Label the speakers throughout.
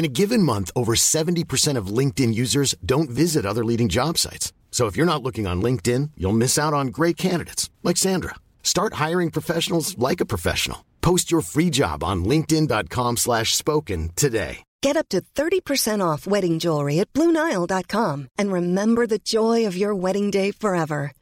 Speaker 1: In a given month, over 70% of LinkedIn users don't visit other leading job sites. So if you're not looking on LinkedIn, you'll miss out on great candidates like Sandra. Start hiring professionals like a professional. Post your free job on linkedin.com/spoken slash spoken today.
Speaker 2: Get up to 30% off wedding jewelry at BlueNile.com and remember the joy of your wedding day forever.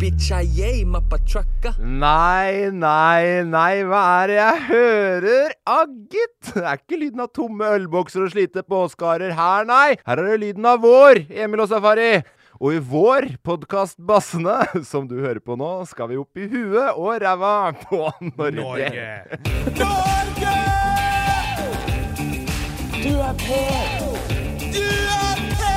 Speaker 3: Bitcha yay, mappa trucka.
Speaker 4: Nei, nei, nei, hva er det jeg hører? Ah, gitt! Det er ikke lyden av tomme ølbokser og slite påskarer her, nei! Her er det lyden av vår, Emil og Safari! Og i vår podkast Bassene, som du hører på nå, skal vi opp i huet og ræva på Norge.
Speaker 3: Du er på! Du er på!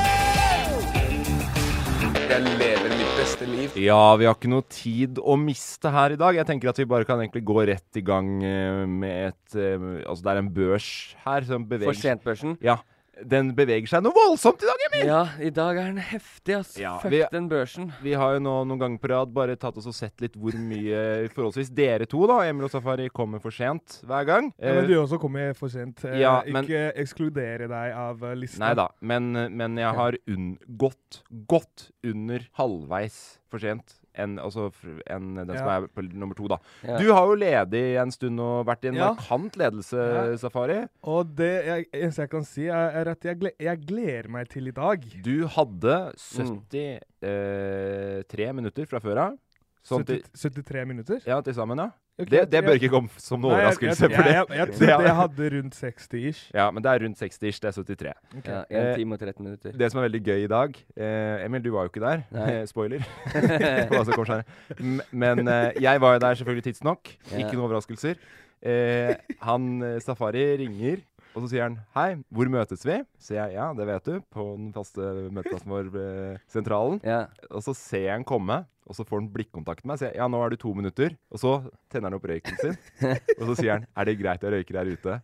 Speaker 5: Jeg lever mitt beste liv.
Speaker 4: Ja, vi har ikke noe tid å miste her i dag. Jeg tenker at vi bare kan egentlig gå rett i gang eh, med et eh, Altså, det er en børs her som beveger
Speaker 5: For sent-børsen.
Speaker 4: Ja. Den beveger seg noe voldsomt i dag, Emil!
Speaker 5: Ja, i dag er den heftig, ass.
Speaker 4: Ja,
Speaker 5: Fuck
Speaker 4: vi-
Speaker 5: den børsen.
Speaker 4: Vi har jo nå noen ganger på rad bare tatt oss og sett litt hvor mye forholdsvis dere to, da, Emil og Safari, kommer for sent hver gang.
Speaker 6: Ja, men du også kommer for sent. Eh,
Speaker 4: Eh, ja, men-
Speaker 6: ikke ekskludere deg av eh, lista.
Speaker 4: Nei da, men, men jeg har unn, gått, gått under halvveis for sent enn altså, fr- enn den som
Speaker 6: Ja.
Speaker 4: er på nummer to, da.
Speaker 5: Ja.
Speaker 4: Du har jo ledig en stund og vært i en
Speaker 6: Ja.
Speaker 4: markant ledelse,
Speaker 6: Ja.
Speaker 4: Safari.
Speaker 6: Og det jeg, eneste jeg kan si, er, er at jeg, gle jeg gleder meg til i dag.
Speaker 4: Du hadde 73 minutter fra før av. Sånn til,
Speaker 6: 70, 73 minutter.
Speaker 4: ja, til sammen, ja.
Speaker 6: Ok,
Speaker 4: Det, det
Speaker 6: jeg-
Speaker 4: bør ikke komme som noen
Speaker 6: Nei, jeg-
Speaker 4: overraskelse.
Speaker 6: Jeg,
Speaker 4: for det-
Speaker 6: jeg, jeg, jeg
Speaker 4: det
Speaker 6: trodde
Speaker 4: er-
Speaker 6: jeg hadde rundt 60-ish.
Speaker 4: Ja, men det er rundt 60-ish, det er 73.
Speaker 5: Ja,
Speaker 4: Eh,
Speaker 5: 1 time og 13 minutter.
Speaker 4: Det som er veldig gøy i dag eh, Emil, du var jo ikke der.
Speaker 5: Nei.
Speaker 4: Spoiler. på hva som kommer senere. M- Men eh, jeg var jo der selvfølgelig tidsnok.
Speaker 5: Ja.
Speaker 4: Ikke noen overraskelser. Eh, han eh, Safari ringer, og så sier han 'Hei, hvor møtes vi?' Så jeg 'Ja, det vet du', på den faste møteplassen vår, eh, sentralen.
Speaker 5: Ja.
Speaker 4: Og så ser jeg han komme, og så får han blikkontakt med meg. Og sier 'Ja, nå er du to minutter'. Og så tenner han opp røyken sin, og så sier han 'Er det greit jeg røyker her ute?'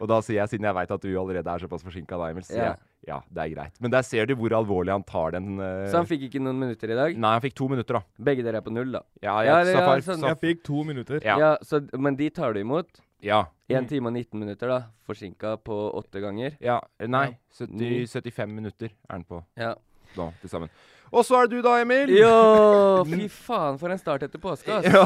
Speaker 4: Og da sier jeg, siden jeg veit at du allerede er såpass forsinka da, Emil, så sier
Speaker 5: Ja.
Speaker 4: jeg ja, det er greit. Men der ser du hvor alvorlig han tar den eh,
Speaker 5: Så han fikk ikke noen minutter i dag.
Speaker 4: Nei, han fikk to minutter, da.
Speaker 5: Begge dere er på null, da.
Speaker 4: Ja,
Speaker 5: Ja,
Speaker 4: ja,
Speaker 5: det- ja,
Speaker 4: Safar,
Speaker 5: sånn.
Speaker 4: Saf-
Speaker 6: Jeg fikk to minutter.
Speaker 4: Ja. Mm.
Speaker 5: Ja, så, Men de tar du imot.
Speaker 4: ja.
Speaker 5: 1 time og 19 minutter, da. Forsinka på åtte ganger.
Speaker 4: ja. Nei,
Speaker 5: Ja.
Speaker 4: 70, 75 minutter er han på
Speaker 5: Ja.
Speaker 4: nå til sammen. Og så er det du da, Emil.
Speaker 5: Jo, fy faen, for en start etter påske, ass.
Speaker 4: Ja,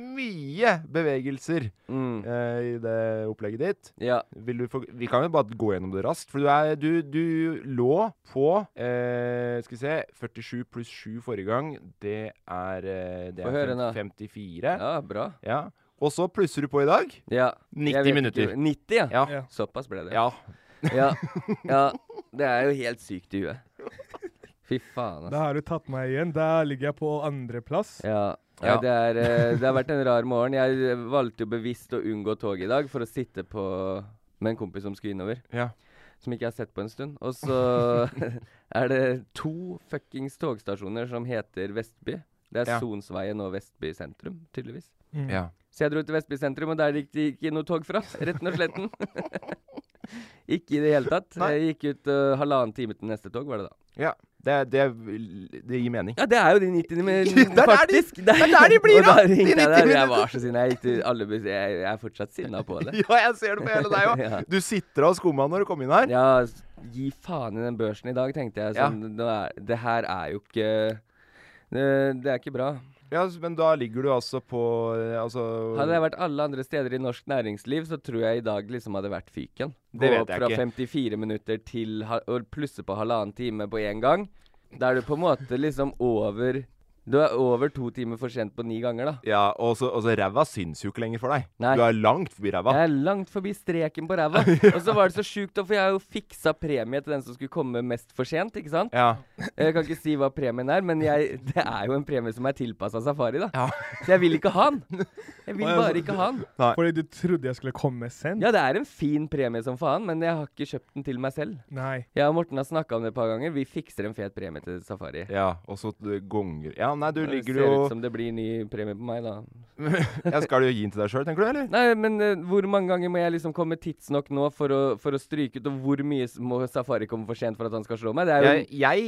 Speaker 4: mye bevegelser
Speaker 5: Mm.
Speaker 4: eh, i det opplegget ditt.
Speaker 5: Ja.
Speaker 4: Vil du få, vi kan jo bare gå gjennom det raskt. For du, er, du, du lå på eh, Skal vi se 47 pluss 7 forrige gang. Det er, eh, det
Speaker 5: Få
Speaker 4: er
Speaker 5: høre nå.
Speaker 4: 54.
Speaker 5: ja, bra.
Speaker 4: Ja. Og så plusser du på i dag.
Speaker 5: Ja.
Speaker 4: 90
Speaker 5: Jeg vet ikke
Speaker 4: minutter.
Speaker 5: hvor- 90, ja.
Speaker 4: Ja.
Speaker 6: Ja.
Speaker 5: Såpass ble det.
Speaker 4: Ja.
Speaker 5: ja. Ja. Det er jo helt sykt i huet. Fy faen, ass.
Speaker 6: Da har du tatt meg igjen. Da ligger jeg på andreplass.
Speaker 5: Ja.
Speaker 4: Ja.
Speaker 5: Ja, det, er, eh, det har vært en rar morgen. Jeg eh, valgte jo bevisst å unngå toget i dag for å sitte på med en kompis som skulle innover.
Speaker 4: Ja.
Speaker 5: Som ikke jeg har sett på en stund. Og så er det to fuckings togstasjoner som heter Vestby. Det er
Speaker 4: Ja.
Speaker 5: Sonsveien og Vestby sentrum, tydeligvis.
Speaker 4: ja.
Speaker 5: Så jeg dro til Vestby sentrum, og der gikk det ikke noe tog fra. Retten og sletten. ikke i det hele tatt. Jeg gikk ut eh, halvannen time til neste tog, var det da.
Speaker 4: ja. Det, det, det gir mening.
Speaker 5: Ja, det er jo de 90
Speaker 4: Der er
Speaker 5: minuttene,
Speaker 4: de-
Speaker 5: faktisk.
Speaker 4: der er de blir
Speaker 5: og da
Speaker 4: av, de
Speaker 5: ringte
Speaker 4: 90
Speaker 5: jeg der. Jeg
Speaker 4: minuttene.
Speaker 5: var så sinna. Jeg, gikk til alle bus- jeg, jeg er fortsatt sinna på det.
Speaker 4: Ja, jeg ser det på hele deg òg.
Speaker 5: Ja.
Speaker 4: Du sitter og skumma når du kom inn her.
Speaker 5: Ja, s- Gi faen i den børsen i dag, tenkte jeg.
Speaker 4: Ja.
Speaker 5: Sånn, nå er, det her er jo ikke det, det er ikke bra.
Speaker 4: Ja, s- men da ligger du altså på eh, altså,
Speaker 5: Hadde jeg vært alle andre steder i norsk næringsliv, så tror jeg i dag liksom hadde vært fyken. Gå
Speaker 4: Det vet
Speaker 5: opp
Speaker 4: jeg
Speaker 5: fra
Speaker 4: ikke.
Speaker 5: 54 minutter til ha- å plusse på halvannen time på én gang. Da er du på en måte liksom over Du er over to timer for sent på ni ganger, da.
Speaker 4: Ja, og så, og så ræva syns jo ikke lenger for deg.
Speaker 5: Nei.
Speaker 4: Du er langt forbi ræva.
Speaker 5: Jeg er langt forbi streken på ræva. Og så var det så sjukt, da, for jeg har jo fiksa premie til den som skulle komme mest for sent, ikke sant?
Speaker 4: Ja.
Speaker 5: Jeg kan ikke si hva premien er, men jeg, det er jo en premie som er tilpassa safari, da. Så jeg vil ikke ha den. Jeg vil bare ikke ha den.
Speaker 6: Fordi du trodde jeg skulle komme sent?
Speaker 5: Ja, det er en fin premie som faen, men jeg har ikke kjøpt den til meg selv.
Speaker 6: Nei.
Speaker 5: Jeg og Morten har snakka om det et par ganger. Vi fikser en fet premie til safari.
Speaker 4: ja. Og så eh, gonger Ja, nei, du
Speaker 5: Det
Speaker 4: ligger
Speaker 5: ser
Speaker 4: jo
Speaker 5: ut som det blir ny premie på meg, da.
Speaker 4: ja, Skal du gi den til deg sjøl, tenker du, eller?
Speaker 5: Nei, men eh, hvor mange ganger må jeg liksom komme tidsnok nå for å, for å stryke ut, og hvor mye s- må Safari komme for sent for at han skal slå meg? Det er jo
Speaker 4: Jeg, jeg,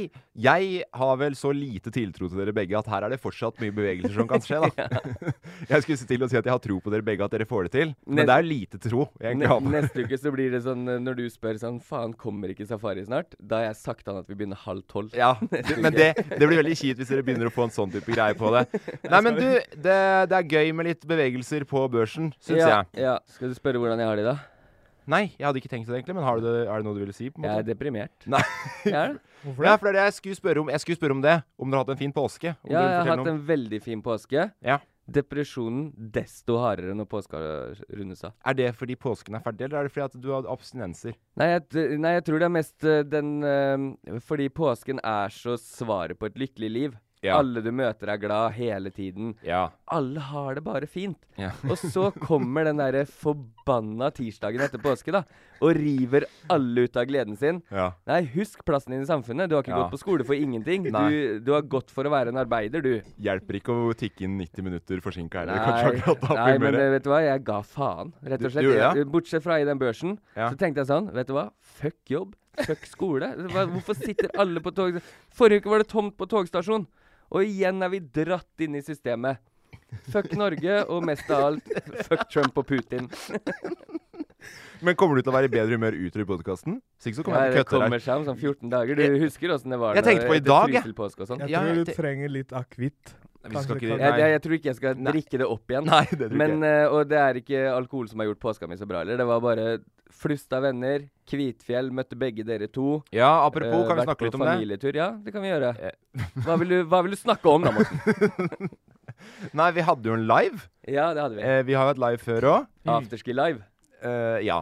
Speaker 4: jeg har vel så lite tiltro til dere begge at her er det fortsatt mye bevegelser som kan skje, da. jeg skulle til å si at jeg har tro på dere begge, at dere får det til. Men
Speaker 5: Nes-
Speaker 4: det er lite tro. Jeg egentlig
Speaker 5: Ne
Speaker 4: har på.
Speaker 5: neste uke så blir det sånn eh, når du spør sånn Faen, kommer ikke Safari snart? Da har jeg sagt han at vi begynner halv tolv.
Speaker 4: Ja, det- men det, det blir veldig kjipt hvis dere begynner å få en sånn type greie på det. Nei, men du, det, det er gøy med litt bevegelser på børsen, syns
Speaker 5: ja,
Speaker 4: jeg.
Speaker 5: ja. Skal du spørre hvordan jeg har det, da?
Speaker 4: Nei, jeg hadde ikke tenkt det egentlig, men har du det, er det noe du ville si? på en
Speaker 5: Jeg er
Speaker 4: måte?
Speaker 5: deprimert.
Speaker 4: Nei.
Speaker 5: Jeg er det.
Speaker 6: Hvorfor
Speaker 4: Ja,
Speaker 6: det?
Speaker 4: for det er det jeg skulle spørre om. Jeg skulle spørre om det. Om dere har hatt en fin påske.
Speaker 5: Ja,
Speaker 4: Om du vil
Speaker 5: jeg har
Speaker 4: fortelle
Speaker 5: hatt
Speaker 4: noe om-
Speaker 5: en veldig fin påske.
Speaker 4: Ja.
Speaker 5: Depresjonen desto hardere når påska rundes av.
Speaker 4: Er det fordi påsken er ferdig, eller er det fordi at du har abstinenser?
Speaker 5: Nei jeg, t- nei, jeg tror det er mest eh, den eh, Fordi påsken er så svaret på et lykkelig liv.
Speaker 4: Ja.
Speaker 5: Alle du møter er glad hele tiden.
Speaker 4: Ja.
Speaker 5: Alle har det bare fint.
Speaker 4: Ja.
Speaker 5: og så kommer den derre forbanna tirsdagen etter påske, da. Og river alle ut av gleden sin.
Speaker 4: Ja.
Speaker 5: Nei, husk plassen din i samfunnet. Du har ikke
Speaker 4: Ja.
Speaker 5: gått på skole for ingenting. Du,
Speaker 4: Nei.
Speaker 5: du har gått for å være en arbeider, du.
Speaker 4: Hjelper ikke å tikke inn 90 minutter forsinka heller.
Speaker 5: Nei,
Speaker 4: Kanskje akkurat da
Speaker 5: nei
Speaker 4: blir
Speaker 5: men eh,
Speaker 4: det
Speaker 5: vet du hva? Jeg ga faen, rett
Speaker 4: Du-
Speaker 5: og slett.
Speaker 4: du gjorde
Speaker 5: Jeg- Bortsett fra i den børsen,
Speaker 4: Ja.
Speaker 5: så tenkte jeg sånn, vet du hva? Fuck jobb, fuck skole. Hva- Hvorfor sitter alle på tog... Forrige uke var det tomt på togstasjonen, og igjen er vi dratt inn i systemet. Fuck Norge, og mest av alt, fuck Trump og Putin.
Speaker 4: Men kommer du til å være i bedre humør utover podkasten? Hvis ikke så kommer
Speaker 5: Nei,
Speaker 4: jeg
Speaker 5: det
Speaker 4: til å
Speaker 5: kommer
Speaker 4: kødde
Speaker 5: seg om sånn 14 dager. Du husker åssen det var
Speaker 4: Jeg
Speaker 5: da-
Speaker 4: tenkte på i
Speaker 5: etter
Speaker 4: dag, jeg.
Speaker 5: Trysilpåske og sånn.
Speaker 6: Jeg
Speaker 4: Ja,
Speaker 6: tror
Speaker 4: jeg
Speaker 6: du
Speaker 4: te-
Speaker 6: trenger litt akevitt.
Speaker 4: Vi skal
Speaker 6: Kanskje
Speaker 4: ikke-
Speaker 6: kan-
Speaker 4: Nei.
Speaker 5: Jeg, jeg, jeg tror ikke jeg skal
Speaker 4: Nei.
Speaker 5: drikke det opp igjen.
Speaker 4: Nei, det tror ikke
Speaker 5: Men, eh, og det er ikke alkohol som har gjort påska mi så bra heller. Det var bare flust av venner, Kvitfjell, møtte begge dere to.
Speaker 4: der. Ja, apropos,
Speaker 5: eh,
Speaker 4: kan vi
Speaker 5: vært på
Speaker 4: snakke litt om det? Eh.
Speaker 5: familietur. Ja, det kan vi gjøre. Hva vil du, hva vil du snakke om da, Morten?
Speaker 4: Nei, vi hadde jo en live.
Speaker 5: Ja, det hadde vi.
Speaker 4: Eh, vi har jo hatt live før òg.
Speaker 5: Afterski live.
Speaker 4: Eh, ja.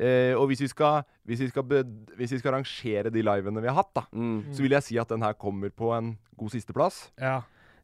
Speaker 4: Eh, og hvis vi, skal, hvis, vi skal bed- hvis vi skal rangere de livene vi har hatt, da, så vil jeg si at den her kommer på en god sisteplass.
Speaker 6: Ja.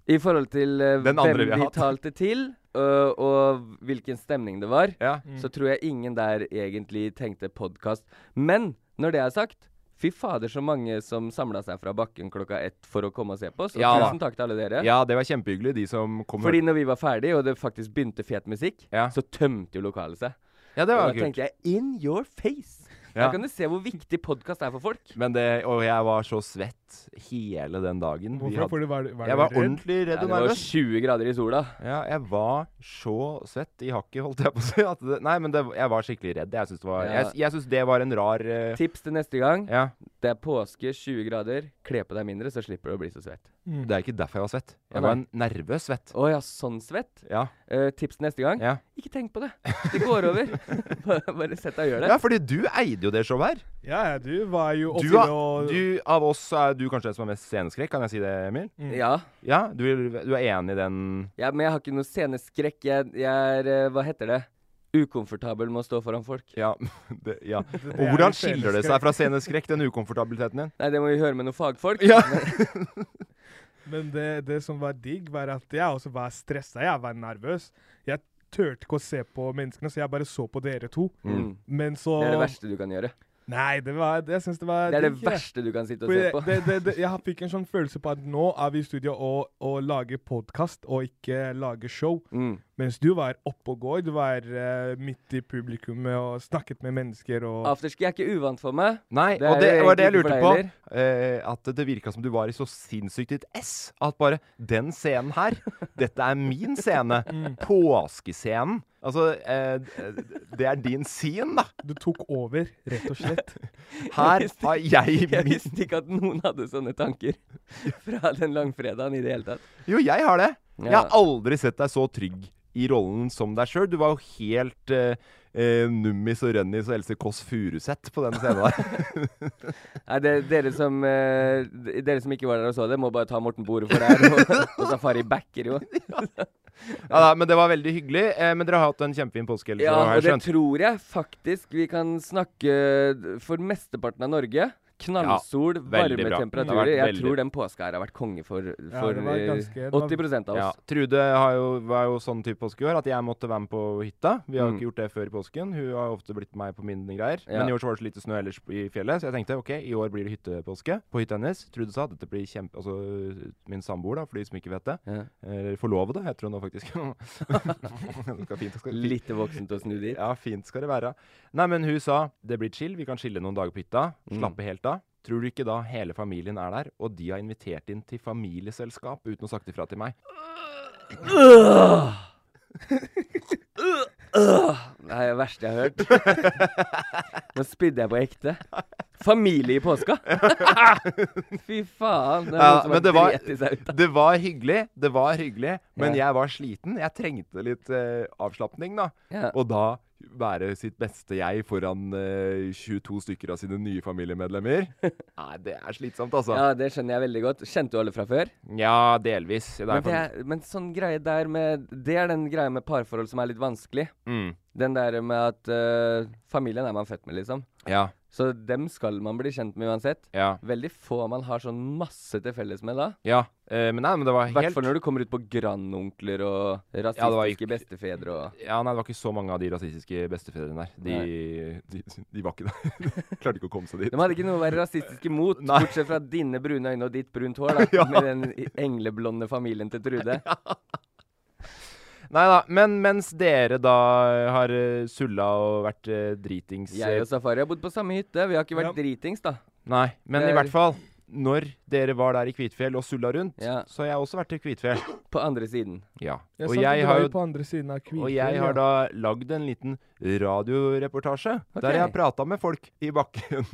Speaker 5: I forhold til eh,
Speaker 4: Den andre
Speaker 5: hvem
Speaker 4: vi har
Speaker 5: vi
Speaker 4: hatt.
Speaker 5: talte til, øh, og hvilken stemning det var,
Speaker 4: Ja.
Speaker 5: så tror jeg ingen der egentlig tenkte podkast. Men når det er sagt Fy fader, så mange som samla seg fra bakken klokka ett for å komme og se på. Så
Speaker 4: Ja da.
Speaker 5: tusen takk til alle dere.
Speaker 4: ja, det var kjempehyggelig, de som kom.
Speaker 5: Fordi når vi var ferdig, og det faktisk begynte fet musikk,
Speaker 4: Ja.
Speaker 5: så tømte jo lokalet seg.
Speaker 4: ja, det
Speaker 5: Og da
Speaker 4: var kult.
Speaker 5: tenkte jeg in your face!
Speaker 4: Ja.
Speaker 5: Da kan du se hvor viktig podkast er for folk.
Speaker 4: Men det, og jeg var så svett hele den dagen. Vi
Speaker 6: Hvorfor?
Speaker 4: hadde-
Speaker 6: Fordi var, du- var
Speaker 4: jeg
Speaker 6: du
Speaker 4: var
Speaker 6: redd?
Speaker 4: ordentlig
Speaker 5: Ja,
Speaker 4: redd
Speaker 5: det
Speaker 4: og
Speaker 5: var jo
Speaker 4: nervøs.
Speaker 5: 20 grader i sola.
Speaker 4: Ja, jeg var så svett i hakket, holdt jeg på å si. At det, nei, men det, jeg var skikkelig redd. Jeg syns det, var-
Speaker 5: Ja.
Speaker 4: jeg, jeg synes det var en rar eh,
Speaker 5: Tips til neste gang.
Speaker 4: Ja.
Speaker 5: Det er påske, 20 grader. Kle på deg mindre, så slipper du å bli så svett.
Speaker 6: Mm.
Speaker 4: Det er ikke derfor jeg var svett.
Speaker 5: Å,
Speaker 4: Jeg var
Speaker 5: nei.
Speaker 4: en nervøs svett.
Speaker 5: Å ja, sånn svett.
Speaker 4: Ja.
Speaker 5: Eh, tips til neste gang.
Speaker 4: Ja.
Speaker 5: Ikke tenk på det. Det går over. bare, bare sett deg og gjør det.
Speaker 4: ja, fordi du eide jo det showet her.
Speaker 6: Ja, ja, du var jo
Speaker 4: Du,
Speaker 6: oppe
Speaker 4: er-
Speaker 6: og
Speaker 4: du, av oss så er du kanskje den som har mest sceneskrekk, kan jeg si det, Emil?
Speaker 6: Mm.
Speaker 5: Ja.
Speaker 4: Ja, du, du er enig i den
Speaker 5: ja, men jeg har ikke noe sceneskrekk. Jeg, jeg er eh, Hva heter det? Ukomfortabel med å stå foran folk.
Speaker 4: ja, det, ja. Og
Speaker 6: er
Speaker 4: hvordan
Speaker 6: jo
Speaker 4: skiller det seg fra sceneskrekk, den ukomfortabiliteten din?
Speaker 5: Nei, det må vi høre med noen fagfolk.
Speaker 6: Men det, det som var digg, var at jeg også var stressa. Jeg var nervøs. Jeg turte ikke å se på menneskene, så jeg bare så på dere to.
Speaker 5: Mm.
Speaker 6: Men så
Speaker 5: Det er det verste du kan gjøre.
Speaker 6: Nei, det var det, jeg syns det var
Speaker 5: Det er det
Speaker 6: digg, jeg.
Speaker 5: verste du kan sitte og
Speaker 6: Fordi
Speaker 5: se
Speaker 6: det,
Speaker 5: på.
Speaker 6: det, det, det, jeg fikk en sånn følelse på at nå er vi i studio og, og lager podkast og ikke lager show.
Speaker 5: Mm.
Speaker 6: Mens du var oppe og går. Du var eh, midt i publikummet og snakket med mennesker og
Speaker 5: Afterski er ikke uvant for meg.
Speaker 4: Nei,
Speaker 5: Det er
Speaker 4: og det
Speaker 5: jo
Speaker 4: var det jeg
Speaker 5: egentlig
Speaker 4: lurte
Speaker 5: ikke
Speaker 4: på.
Speaker 5: for deg
Speaker 4: Eh, at det virka som du var i så sinnssykt ditt ess Mm. at bare Den scenen her, dette er min scene. Påskescenen. Altså, eh, det er din scene, da.
Speaker 6: Du tok over, rett og slett.
Speaker 4: Her
Speaker 5: visste-
Speaker 4: har jeg
Speaker 5: Jeg
Speaker 4: min
Speaker 5: visste ikke at noen hadde sånne tanker fra den langfredagen i det hele tatt.
Speaker 4: Jo, jeg har det. Jeg
Speaker 5: Ja.
Speaker 4: har aldri sett deg så trygg i rollen som deg sjøl. Du var jo helt eh, eh, nummis og rønnis og Else Kåss Furuseth på den scenen der.
Speaker 5: Nei, det, dere, som, eh, d- dere som ikke var der og så det, må bare ta Morten på ordet for det her. Og, og Safari backer jo.
Speaker 4: ja, da, men det var veldig hyggelig. Eh, men dere har hatt en kjempefin påske. Else,
Speaker 5: Ja,
Speaker 4: har
Speaker 5: og
Speaker 4: jeg
Speaker 5: det
Speaker 4: skjønt.
Speaker 5: tror jeg faktisk vi kan snakke for mesteparten av Norge. Knallsol,
Speaker 4: Ja, veldig
Speaker 5: varme
Speaker 4: bra. Det har
Speaker 5: temperaturer.
Speaker 4: vært
Speaker 5: Jeg
Speaker 4: veldig-
Speaker 5: tror den påska her har vært konge for, for
Speaker 6: det var
Speaker 5: eh,
Speaker 6: ganske-
Speaker 5: 80 av oss.
Speaker 4: Ja. Trude har jo, var jo sånn type påske i år at jeg måtte være med på hytta. Vi har jo ikke gjort det før i påsken. Hun har ofte blitt med meg på mine greier.
Speaker 5: Mm. Ja.
Speaker 4: Men i år så var det så lite snø ellers i fjellet, så jeg tenkte ok, i år blir det hyttepåske på hytta hennes. Trude sa at dette blir kjempe... Altså min samboer, da, for de som ikke vet det.
Speaker 5: Ja.
Speaker 4: Eller forlovede, heter hun nå faktisk. det skal fint, det skal,
Speaker 5: Litt voksent å snu dit.
Speaker 4: Ja, fint skal det være. Nei, men hun sa det blir chill, vi kan chille noen dager på hytta.
Speaker 5: Mm.
Speaker 4: Slappe helt av. Tror du ikke da hele familien er der, og de har invitert inn til familieselskap uten å ha sagt ifra til meg?
Speaker 5: Det er det verste jeg har hørt. Nå spydde jeg på ekte. Familie i påska! Fy faen. Det er
Speaker 4: Ja,
Speaker 5: noen som
Speaker 4: men
Speaker 5: har
Speaker 4: det var,
Speaker 5: dreti seg ut. da.
Speaker 4: det var hyggelig, det var hyggelig, men
Speaker 5: Ja.
Speaker 4: jeg var sliten. Jeg trengte litt eh, avslapning, da.
Speaker 5: Ja.
Speaker 4: Og da være sitt beste jeg foran eh, 22 stykker av sine nye familiemedlemmer. Nei, det er slitsomt, altså.
Speaker 5: Ja,
Speaker 4: Ja,
Speaker 5: det skjønner jeg veldig godt. Kjente du alle fra før?
Speaker 4: delvis. Det er
Speaker 5: Men, det
Speaker 4: for-
Speaker 5: er, men sånn greie der med Det er den greia med parforhold som er litt vanskelig.
Speaker 4: Mm,
Speaker 5: Den der med at øh, familien er man født med, liksom.
Speaker 4: ja,
Speaker 5: Så dem skal man bli kjent med uansett.
Speaker 4: ja.
Speaker 5: Veldig få man har sånn masse til felles med da.
Speaker 4: ja. Eh, men nei, men det var
Speaker 5: I
Speaker 4: helt
Speaker 5: hvert fall når du kommer ut på grandonkler og
Speaker 4: var
Speaker 5: rasistiske
Speaker 4: ikke-
Speaker 5: bestefedre og
Speaker 4: Ja, nei, det var ikke så mange av de rasistiske bestefedrene der. De, de, de var ikke der. Klarte ikke å komme seg dit.
Speaker 5: De hadde ikke noe å være rasistiske mot,
Speaker 4: Nei.
Speaker 5: bortsett fra dine brune øyne og ditt brunt hår, da.
Speaker 4: Ja.
Speaker 5: Med den engleblonde familien til Trude.
Speaker 4: Nei da, men mens dere da har eh, sulla og vært eh, dritings
Speaker 5: Jeg og Safari har bodd på samme hytte. Vi har ikke vært
Speaker 6: Ja.
Speaker 5: dritings, da.
Speaker 4: Nei, men
Speaker 5: Det
Speaker 4: i
Speaker 5: er-
Speaker 4: hvert fall når dere var der i Kvitfjell og sulla rundt,
Speaker 5: Ja.
Speaker 4: så har jeg også vært i Kvitfjell.
Speaker 5: På andre siden.
Speaker 4: Ja.
Speaker 6: Jeg
Speaker 4: Og,
Speaker 6: sa at
Speaker 4: jeg
Speaker 6: du
Speaker 4: har
Speaker 6: var jo
Speaker 4: jo,
Speaker 6: på andre siden av Kvitfjell.
Speaker 4: og jeg har da lagd en liten radioreportasje
Speaker 5: Ok.
Speaker 4: der jeg har prata med folk i bakken.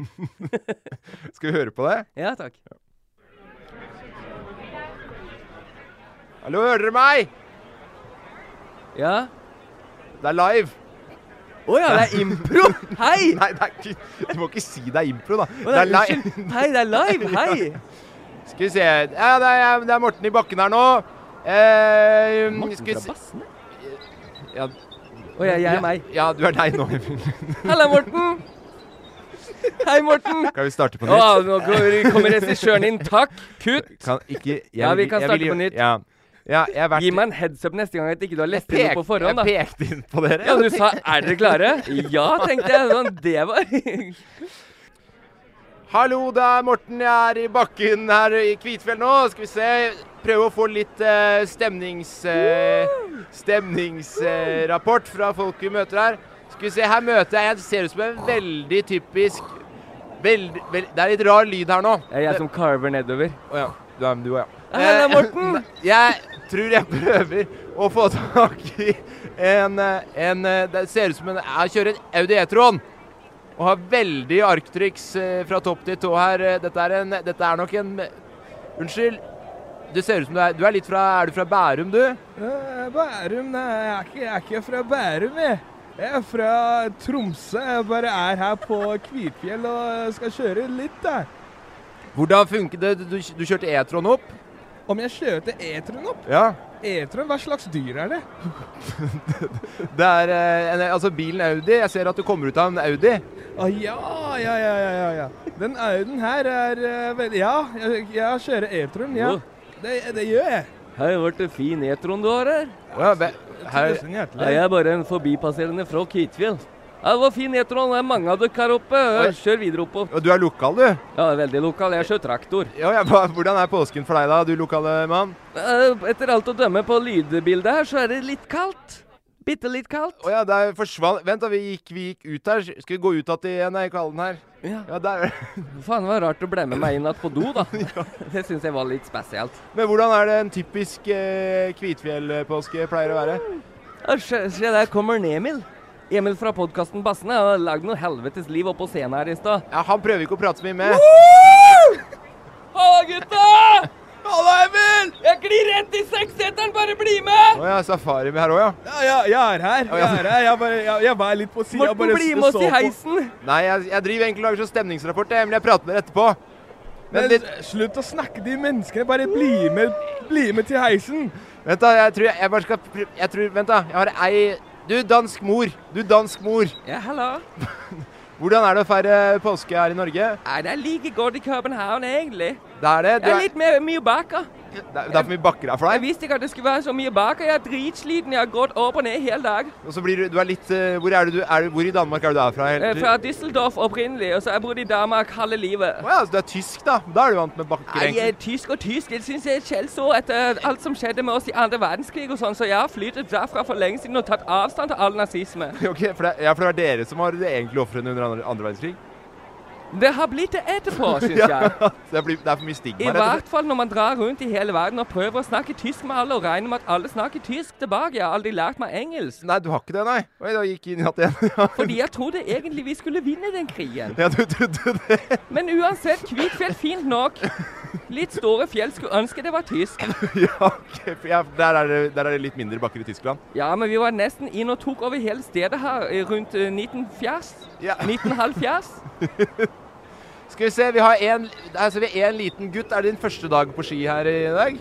Speaker 4: Skal vi høre på det?
Speaker 5: Ja takk.
Speaker 4: Hallo, hører dere meg?
Speaker 5: Ja.
Speaker 4: Det er live!
Speaker 5: Å ja, det er impro! Hei!
Speaker 4: Nei, det er ikke, du må ikke si det er impro, da.
Speaker 5: Å, nei,
Speaker 4: li-
Speaker 5: unnskyld. Hei, det er live! Hei!
Speaker 4: Skal vi se Ja, det er, det er Morten i bakken her nå. Eh, skal vi se-
Speaker 5: Bassene?
Speaker 4: Ja,
Speaker 5: Å ja, jeg er meg.
Speaker 4: ja, du er deg nå.
Speaker 5: Halla, Morten! Hei, Morten!
Speaker 4: Skal vi starte på
Speaker 5: Å,
Speaker 4: nytt?
Speaker 5: nå kommer regissøren inn. Takk! Kutt!
Speaker 4: Kan ikke jeg,
Speaker 5: Ja, vi
Speaker 4: vil-
Speaker 5: kan
Speaker 4: jeg
Speaker 5: starte
Speaker 4: vil jo-
Speaker 5: på nytt.
Speaker 4: Ja. ja, jeg har vært
Speaker 5: Gi meg en heads up neste gang at ikke du har lest det
Speaker 4: Pek-
Speaker 5: på forhånd, da.
Speaker 4: Jeg pekte inn på dere.
Speaker 5: Ja, du sa 'er dere klare'? Ja, tenkte jeg. Sånn, det var
Speaker 4: Hallo, det er Morten. Jeg er i bakken her i Kvitfjell nå. Skal vi se. Prøve å få litt eh, stemnings... eh, stemningsrapport fra folk vi møter her. Skal vi se, her møter jeg en ser ut som en veldig typisk Veldig, vel, det er litt rar lyd her nå.
Speaker 5: Det er jeg som carver nedover.
Speaker 4: Å ja. Du er med, du òg, ja.
Speaker 5: Halla,
Speaker 4: Eh,
Speaker 5: Morten!
Speaker 4: Jeg tror jeg prøver å få tak i en, eh, en eh, Det ser ut som en Jeg kjører en Audi E-tron. Og har veldig arktryks eh, fra topp til tå her. Eh, Dette er, en, dette er nok en Unnskyld. Det ser ut som du er, du er litt fra Er du fra Bærum, du?
Speaker 6: Eh, Bærum, nei, jeg er, ikke, jeg er ikke fra Bærum, jeg. Jeg er fra Tromsø. Jeg bare er her på Kvitfjell og skal kjøre litt, da.
Speaker 4: Hvordan funket det? Du, du kjørte E-tron opp?
Speaker 6: Om jeg kjørte eteren opp?
Speaker 4: Ja.
Speaker 6: Eteren, hva slags dyr er det?
Speaker 4: Det er eh, en, Altså, bilen Audi. Jeg ser at du kommer ut av en Audi.
Speaker 6: Å ja, ja, ja, ja, ja, ja. Den Auden her er eh, vel- Ja, jeg, jeg kjører eteren, ja.
Speaker 5: Wow.
Speaker 6: Det, det gjør jeg.
Speaker 5: Hei, ble det fin etron du har her?
Speaker 4: Ja, ve- her,
Speaker 6: Tusen hjertelig.
Speaker 5: Nei, jeg er bare en forbipasserende fra Kvitfjell. Ja, det var fin etron. Det er mange av dere her oppe. Kjør videre oppå.
Speaker 4: og du er lokal, du?
Speaker 5: Ja, veldig lokal. Jeg kjører traktor.
Speaker 4: Ja, ja, hva- hvordan er påsken for deg, da, du lokale mann?
Speaker 5: Eh, Etter alt å dømme på lydbildet her, så er det litt kaldt. Bitte litt kaldt.
Speaker 4: Å ja, der forsvant Vent, da. Vi gikk, vi gikk ut her. Skal vi gå ut igjen igjen i kallen her?
Speaker 5: Ja.
Speaker 4: Ja, der.
Speaker 5: Faen, det var rart du ble med meg inn igjen på do, da. Det syns jeg var litt spesielt.
Speaker 4: Men hvordan er det en typisk eh, Kvitfjell-påske pleier å være?
Speaker 5: Ja, Se, se der kommer en Emil. Emil fra podkasten Bassene har lagd noe helvetes liv oppå scenen her i stad.
Speaker 4: Ja, han prøver ikke å prate så mye med.
Speaker 5: Halla, gutta!
Speaker 6: Halla, Emil!
Speaker 5: Jeg glir rett i seksseteren, bare bli med!
Speaker 4: Å ja, safari med her òg, ja.
Speaker 6: Ja, ja, jeg er her. Jeg er her. Jeg, bare, jeg, jeg var litt på sida.
Speaker 5: Morten, bli med oss i heisen!
Speaker 4: Nei, jeg, jeg driver egentlig og lager sånn stemningsrapport, jeg, men jeg prater med dere etterpå.
Speaker 6: Men
Speaker 4: Vent litt.
Speaker 6: slutt å snakke de menneskene. Bare bli med, bli med til heisen.
Speaker 4: Vent, da. Jeg tror jeg, jeg bare skal pr- Jeg tror Vent, da. Jeg har ei Du, dansk mor. Du, dansk mor.
Speaker 5: Ja, hallo.
Speaker 4: Hvordan er det å feire påske her i Norge?
Speaker 5: Nei, det er like godt i København, egentlig.
Speaker 4: Det er det. Du
Speaker 5: Jeg er
Speaker 4: er,
Speaker 5: litt mer, mye baker.
Speaker 4: det er det er for mye bakker her for
Speaker 5: Jeg
Speaker 4: deg.
Speaker 5: visste ikke at det skulle være så mye baker. Jeg er dritsliten. Jeg har gått opp og ned hele dag.
Speaker 4: Og så blir du Du er litt eh, Hvor er du, du er, du- Hvor i Danmark er du der fra?
Speaker 5: Eh, Fra Düsseldorf opprinnelig, og så har jeg bodd i Danmark halve livet.
Speaker 4: Å ja, så du er tysk, da. Da er du vant med bakker,
Speaker 5: Nei, jeg
Speaker 4: egentlig.
Speaker 5: er tysk og tysk. Jeg syns jeg er et skjellsord etter eh, alt som skjedde med oss i andre verdenskrig og sånn, så jeg har flyttet derfra for lenge siden og tatt avstand til all nazisme.
Speaker 4: Ok, for det, ja, for det er dere som har de egentlige ofrene under andre, andre verdenskrig?
Speaker 5: Det har blitt det etterpå, syns jeg.
Speaker 4: Så det, blir, det er for mye
Speaker 5: I
Speaker 4: stigma, rett og slett.
Speaker 5: hvert fall når man drar rundt i hele verden og prøver å snakke tysk med alle og regner med at alle snakker tysk tilbake. Jeg har aldri lært meg engelsk.
Speaker 4: Nei, du har ikke det, nei? Oi, da gikk jeg inn i natt igjen. Ja.
Speaker 5: Fordi jeg trodde egentlig vi skulle vinne den krigen.
Speaker 4: Ja, du trodde det?
Speaker 5: Men uansett, Kvitfjell fint nok. Litt store fjell skulle ønske det var tysk.
Speaker 4: Ja, ok. for Ja, der, er det, der er det litt mindre bakker i Tyskland.
Speaker 5: Ja, men vi var nesten inn og tok over hele stedet her eh, rundt eh, 1940.
Speaker 4: Ja.
Speaker 5: 1970.
Speaker 4: Skal vi se, vi har en, altså, vi har en liten gutt. Er det din første dag på ski her i dag?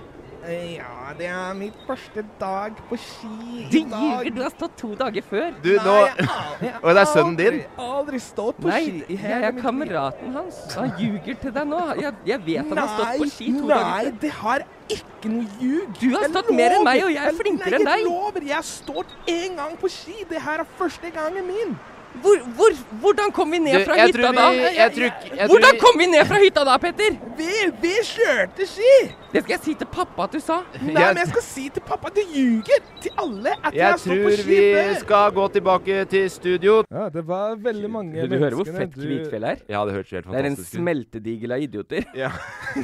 Speaker 6: Ja, det er min første dag på ski
Speaker 5: Du ljuger, du har stått to dager før.
Speaker 4: Du, nå Og det er sønnen din?
Speaker 6: Jeg har aldri stått på
Speaker 5: Nei,
Speaker 6: ski
Speaker 5: jeg
Speaker 6: i hele
Speaker 5: er
Speaker 6: mitt liv.
Speaker 5: kameraten hans. Han ljuger til deg nå. Jeg, jeg vet han har stått på ski
Speaker 6: Nei,
Speaker 5: to dager
Speaker 6: nei,
Speaker 5: før.
Speaker 6: det har ikke noe ljug.
Speaker 5: Du har
Speaker 6: Jeg
Speaker 5: stått mer enn meg,
Speaker 6: lover.
Speaker 5: og jeg er flinkere enn
Speaker 6: Nei,
Speaker 5: deg.
Speaker 6: jeg lover. Jeg har stått én gang på ski. Det her er første gangen min.
Speaker 5: Hvor, hvor, hvordan kom vi ned
Speaker 4: Du,
Speaker 5: fra
Speaker 4: jeg
Speaker 5: hytta
Speaker 4: tror
Speaker 5: da?
Speaker 4: vi- jeg tror ikke- jeg tror
Speaker 5: hvordan
Speaker 4: vi-
Speaker 5: kom vi ned fra hytta da, Petter?
Speaker 6: Vi, vi kjørte ski.
Speaker 5: Det skal jeg si til pappa at du sa.
Speaker 6: Nei,
Speaker 4: Jeg-
Speaker 6: men jeg skal si til pappa at du ljuger til alle at jeg,
Speaker 4: Jeg
Speaker 6: har stått på
Speaker 4: tror
Speaker 6: ski
Speaker 4: vi
Speaker 6: før.
Speaker 4: skal gå tilbake til studio.
Speaker 6: Ja, det var veldig mange
Speaker 5: Du hører hvor fett Kvitfjell er?
Speaker 4: Ja, det hørtes helt
Speaker 5: Det er en
Speaker 4: fantastisk ut.
Speaker 5: smeltedigel av idioter.
Speaker 4: Ja,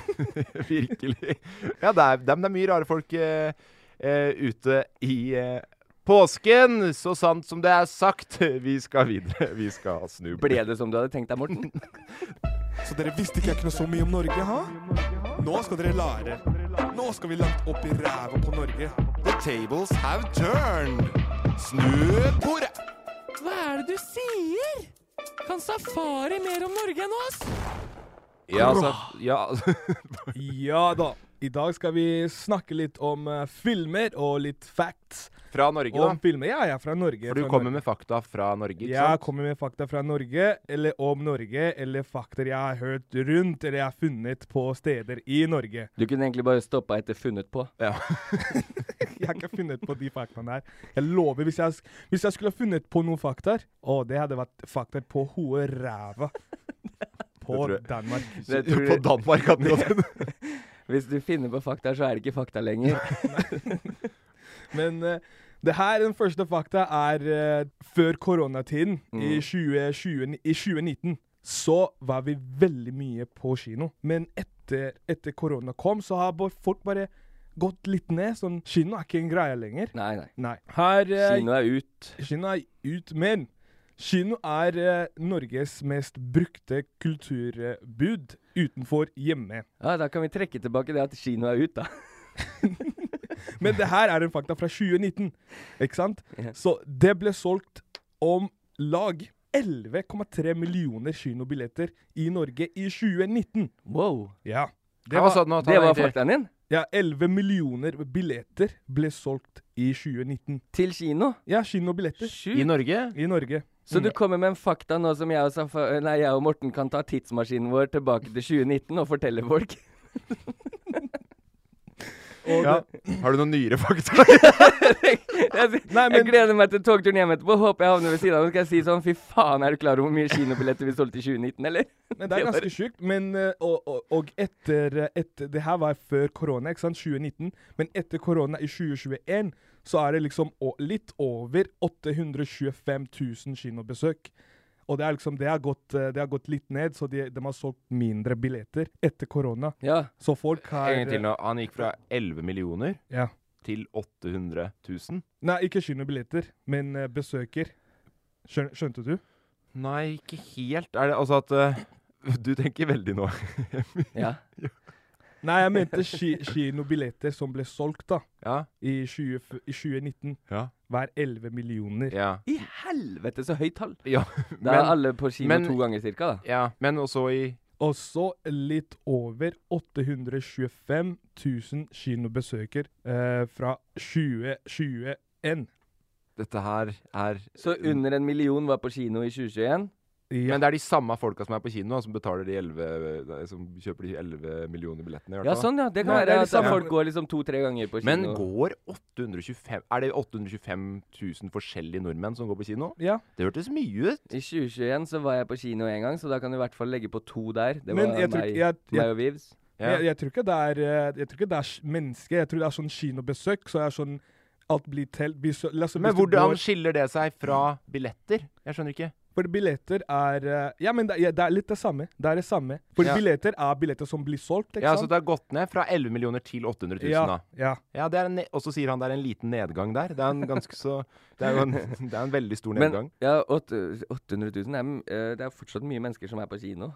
Speaker 4: virkelig. Ja, det er, det er, det er mye rare folk eh, eh, ute i eh, påsken. Så sant som det er sagt. Vi skal videre. Vi skal snu.
Speaker 5: Ble det som du hadde tenkt deg, Morten?
Speaker 7: Så dere visste ikke jeg kunne så mye om Norge, ha? Nå skal dere lære. Nå skal vi langt opp i ræva på Norge. The tables have turned. Snu bordet.
Speaker 5: Hva er det du sier? Kan safari mer om Norge enn oss?
Speaker 4: Ja, altså, ja.
Speaker 6: Ja da. I dag skal vi snakke litt om eh, filmer og litt facts
Speaker 4: Fra Norge,
Speaker 6: om
Speaker 4: da.
Speaker 6: filmer. Ja, jeg er fra Norge.
Speaker 4: For du
Speaker 6: fra
Speaker 4: kommer
Speaker 6: Norge.
Speaker 4: med fakta fra Norge, ikke
Speaker 6: Jeg
Speaker 4: sant?
Speaker 6: kommer med fakta fra Norge, eller om Norge, eller fakta jeg har hørt rundt eller jeg har funnet på steder i Norge.
Speaker 5: Du kunne egentlig bare stoppa etter 'funnet på'.
Speaker 4: Ja.
Speaker 6: Jeg har ikke funnet på de faktaene her. Jeg lover, hvis jeg, hvis jeg skulle ha funnet på noen fakta, å, det hadde vært fakta på hodet ræva. På
Speaker 4: tror jeg.
Speaker 6: Danmark.
Speaker 5: Det tror
Speaker 4: På
Speaker 5: jeg-
Speaker 4: Danmark hadde det gått inn.
Speaker 5: Hvis du finner på fakta, så er det ikke fakta lenger.
Speaker 6: Men eh, det her, den første fakta, er eh, før koronatiden
Speaker 5: Mm.
Speaker 6: i, 2020, i 2019. Så var vi veldig mye på kino. Men etter, etter korona kom, så har bare- folk bare gått litt ned. Sånn, kino er ikke en greie lenger.
Speaker 5: Nei, nei.
Speaker 6: Nei. Her, eh,
Speaker 5: Kino er ut.
Speaker 6: Kino er ut, men kino er eh, Norges mest brukte kulturbud utenfor hjemme.
Speaker 5: Ja, Da kan vi trekke tilbake det at kino er ut, da.
Speaker 6: Men det her er en fakta fra 2019, ikke sant? Så det ble solgt om lag 11,3 millioner kinobilletter i Norge i 2019.
Speaker 5: Wow.
Speaker 6: Ja. Det
Speaker 4: Det var
Speaker 6: var,
Speaker 4: sånn at
Speaker 5: Det
Speaker 4: han
Speaker 5: var
Speaker 4: egentlig-
Speaker 5: faktaen din?
Speaker 6: ja, 11 millioner billetter ble solgt i 2019.
Speaker 5: Til kino?
Speaker 6: Ja, kinobilletter
Speaker 4: I
Speaker 5: Sjukt.
Speaker 4: Norge?
Speaker 6: i Norge.
Speaker 5: Så du kommer med en fakta nå som jeg og, Safa- nei, jeg og Morten kan ta tidsmaskinen vår tilbake til 2019 og fortelle folk?
Speaker 4: Ja. Har du noen nyere fakta?
Speaker 5: Jeg,
Speaker 6: Nei,
Speaker 5: jeg
Speaker 6: men-
Speaker 5: gleder meg til togturen hjem etterpå. Håper jeg havner ved siden av ham. Skal jeg si sånn Fy faen, er du klar over hvor mye kinobilletter vi solgte i 2019, eller?
Speaker 6: Men det er ganske sjukt. Men, eh, og, og, og etter, eh, etter Det her var før korona, ikke sant? 2019. Men etter korona i 2021 så er det liksom å, litt over 825 000 kinobesøk. Og det, er liksom, det, har gått, eh, det har gått litt ned, så de, de har solgt mindre billetter etter korona.
Speaker 5: Ja.
Speaker 6: Så folk har eh,
Speaker 4: En gang til nå. Han gikk fra 11 millioner
Speaker 6: Ja.
Speaker 4: til 800 000?
Speaker 6: Nei, ikke kinobilletter, men eh, besøker. Skjøn, skjønte du?
Speaker 4: Nei, ikke helt. Er det altså at eh, Du tenker veldig nå.
Speaker 5: Ja.
Speaker 6: Nei, jeg mente ki kinobilletter som ble solgt da,
Speaker 4: Ja.
Speaker 6: i, 20, f- i 2019.
Speaker 4: Ja.
Speaker 6: Hver 11 millioner.
Speaker 4: ja.
Speaker 5: I helvete, så høyt tall!
Speaker 4: ja.
Speaker 5: Da er
Speaker 4: Men,
Speaker 5: alle på kino
Speaker 4: men-
Speaker 5: to ganger cirka, da.
Speaker 4: ja. Men også i
Speaker 6: Og så litt over 825 000 kinobesøker eh, fra 2021.
Speaker 4: Dette her er
Speaker 5: Så
Speaker 6: Mm.
Speaker 5: under en million var på kino i 2021.
Speaker 4: Men
Speaker 6: Ja.
Speaker 4: det er de samme folka som er på kino, som betaler de 11, nei, som kjøper de 11 millioner billettene. i hvert
Speaker 5: Ja,
Speaker 4: fall.
Speaker 5: sånn, ja. Det kan
Speaker 6: Ja, det er
Speaker 5: være at
Speaker 6: liksom-
Speaker 5: folk går liksom to-tre ganger på kino.
Speaker 4: Men går 825 Er det 825 000 forskjellige nordmenn som går på kino?
Speaker 6: Ja,
Speaker 4: Det hørtes mye ut.
Speaker 5: I 2021 så var jeg på kino en gang, så da kan du i hvert fall legge på to der. Det var
Speaker 6: Men jeg tror-
Speaker 5: meg,
Speaker 6: jeg- jeg-
Speaker 5: meg og Vivs.
Speaker 4: Ja.
Speaker 6: Jeg, jeg tror ikke det er, eh, jeg tror ikke det er mennesker. Jeg tror det er sånn kinobesøk. Så det er sånn alt blir telt. blir så- la oss si
Speaker 4: Men
Speaker 6: hvis du
Speaker 4: hvordan
Speaker 6: går-
Speaker 4: skiller det seg fra billetter? Jeg skjønner ikke.
Speaker 6: For billetter er eh, Ja, men det, ja, det er litt det samme. Det er det samme. For
Speaker 4: Ja.
Speaker 6: billetter er billetter som blir solgt, ikke
Speaker 4: Ja, Så
Speaker 6: sant?
Speaker 4: det har gått ned fra 11 millioner til 800 000,
Speaker 6: ja,
Speaker 4: da.
Speaker 6: ja.
Speaker 4: Ja, det er en ne- Og så sier han det er en liten nedgang der. Det er en ganske så Det er jo en, det er en veldig stor
Speaker 5: Men
Speaker 4: nedgang.
Speaker 5: ja, åtte- 800 000 er, m- eh, Det er fortsatt mye mennesker som er på kino.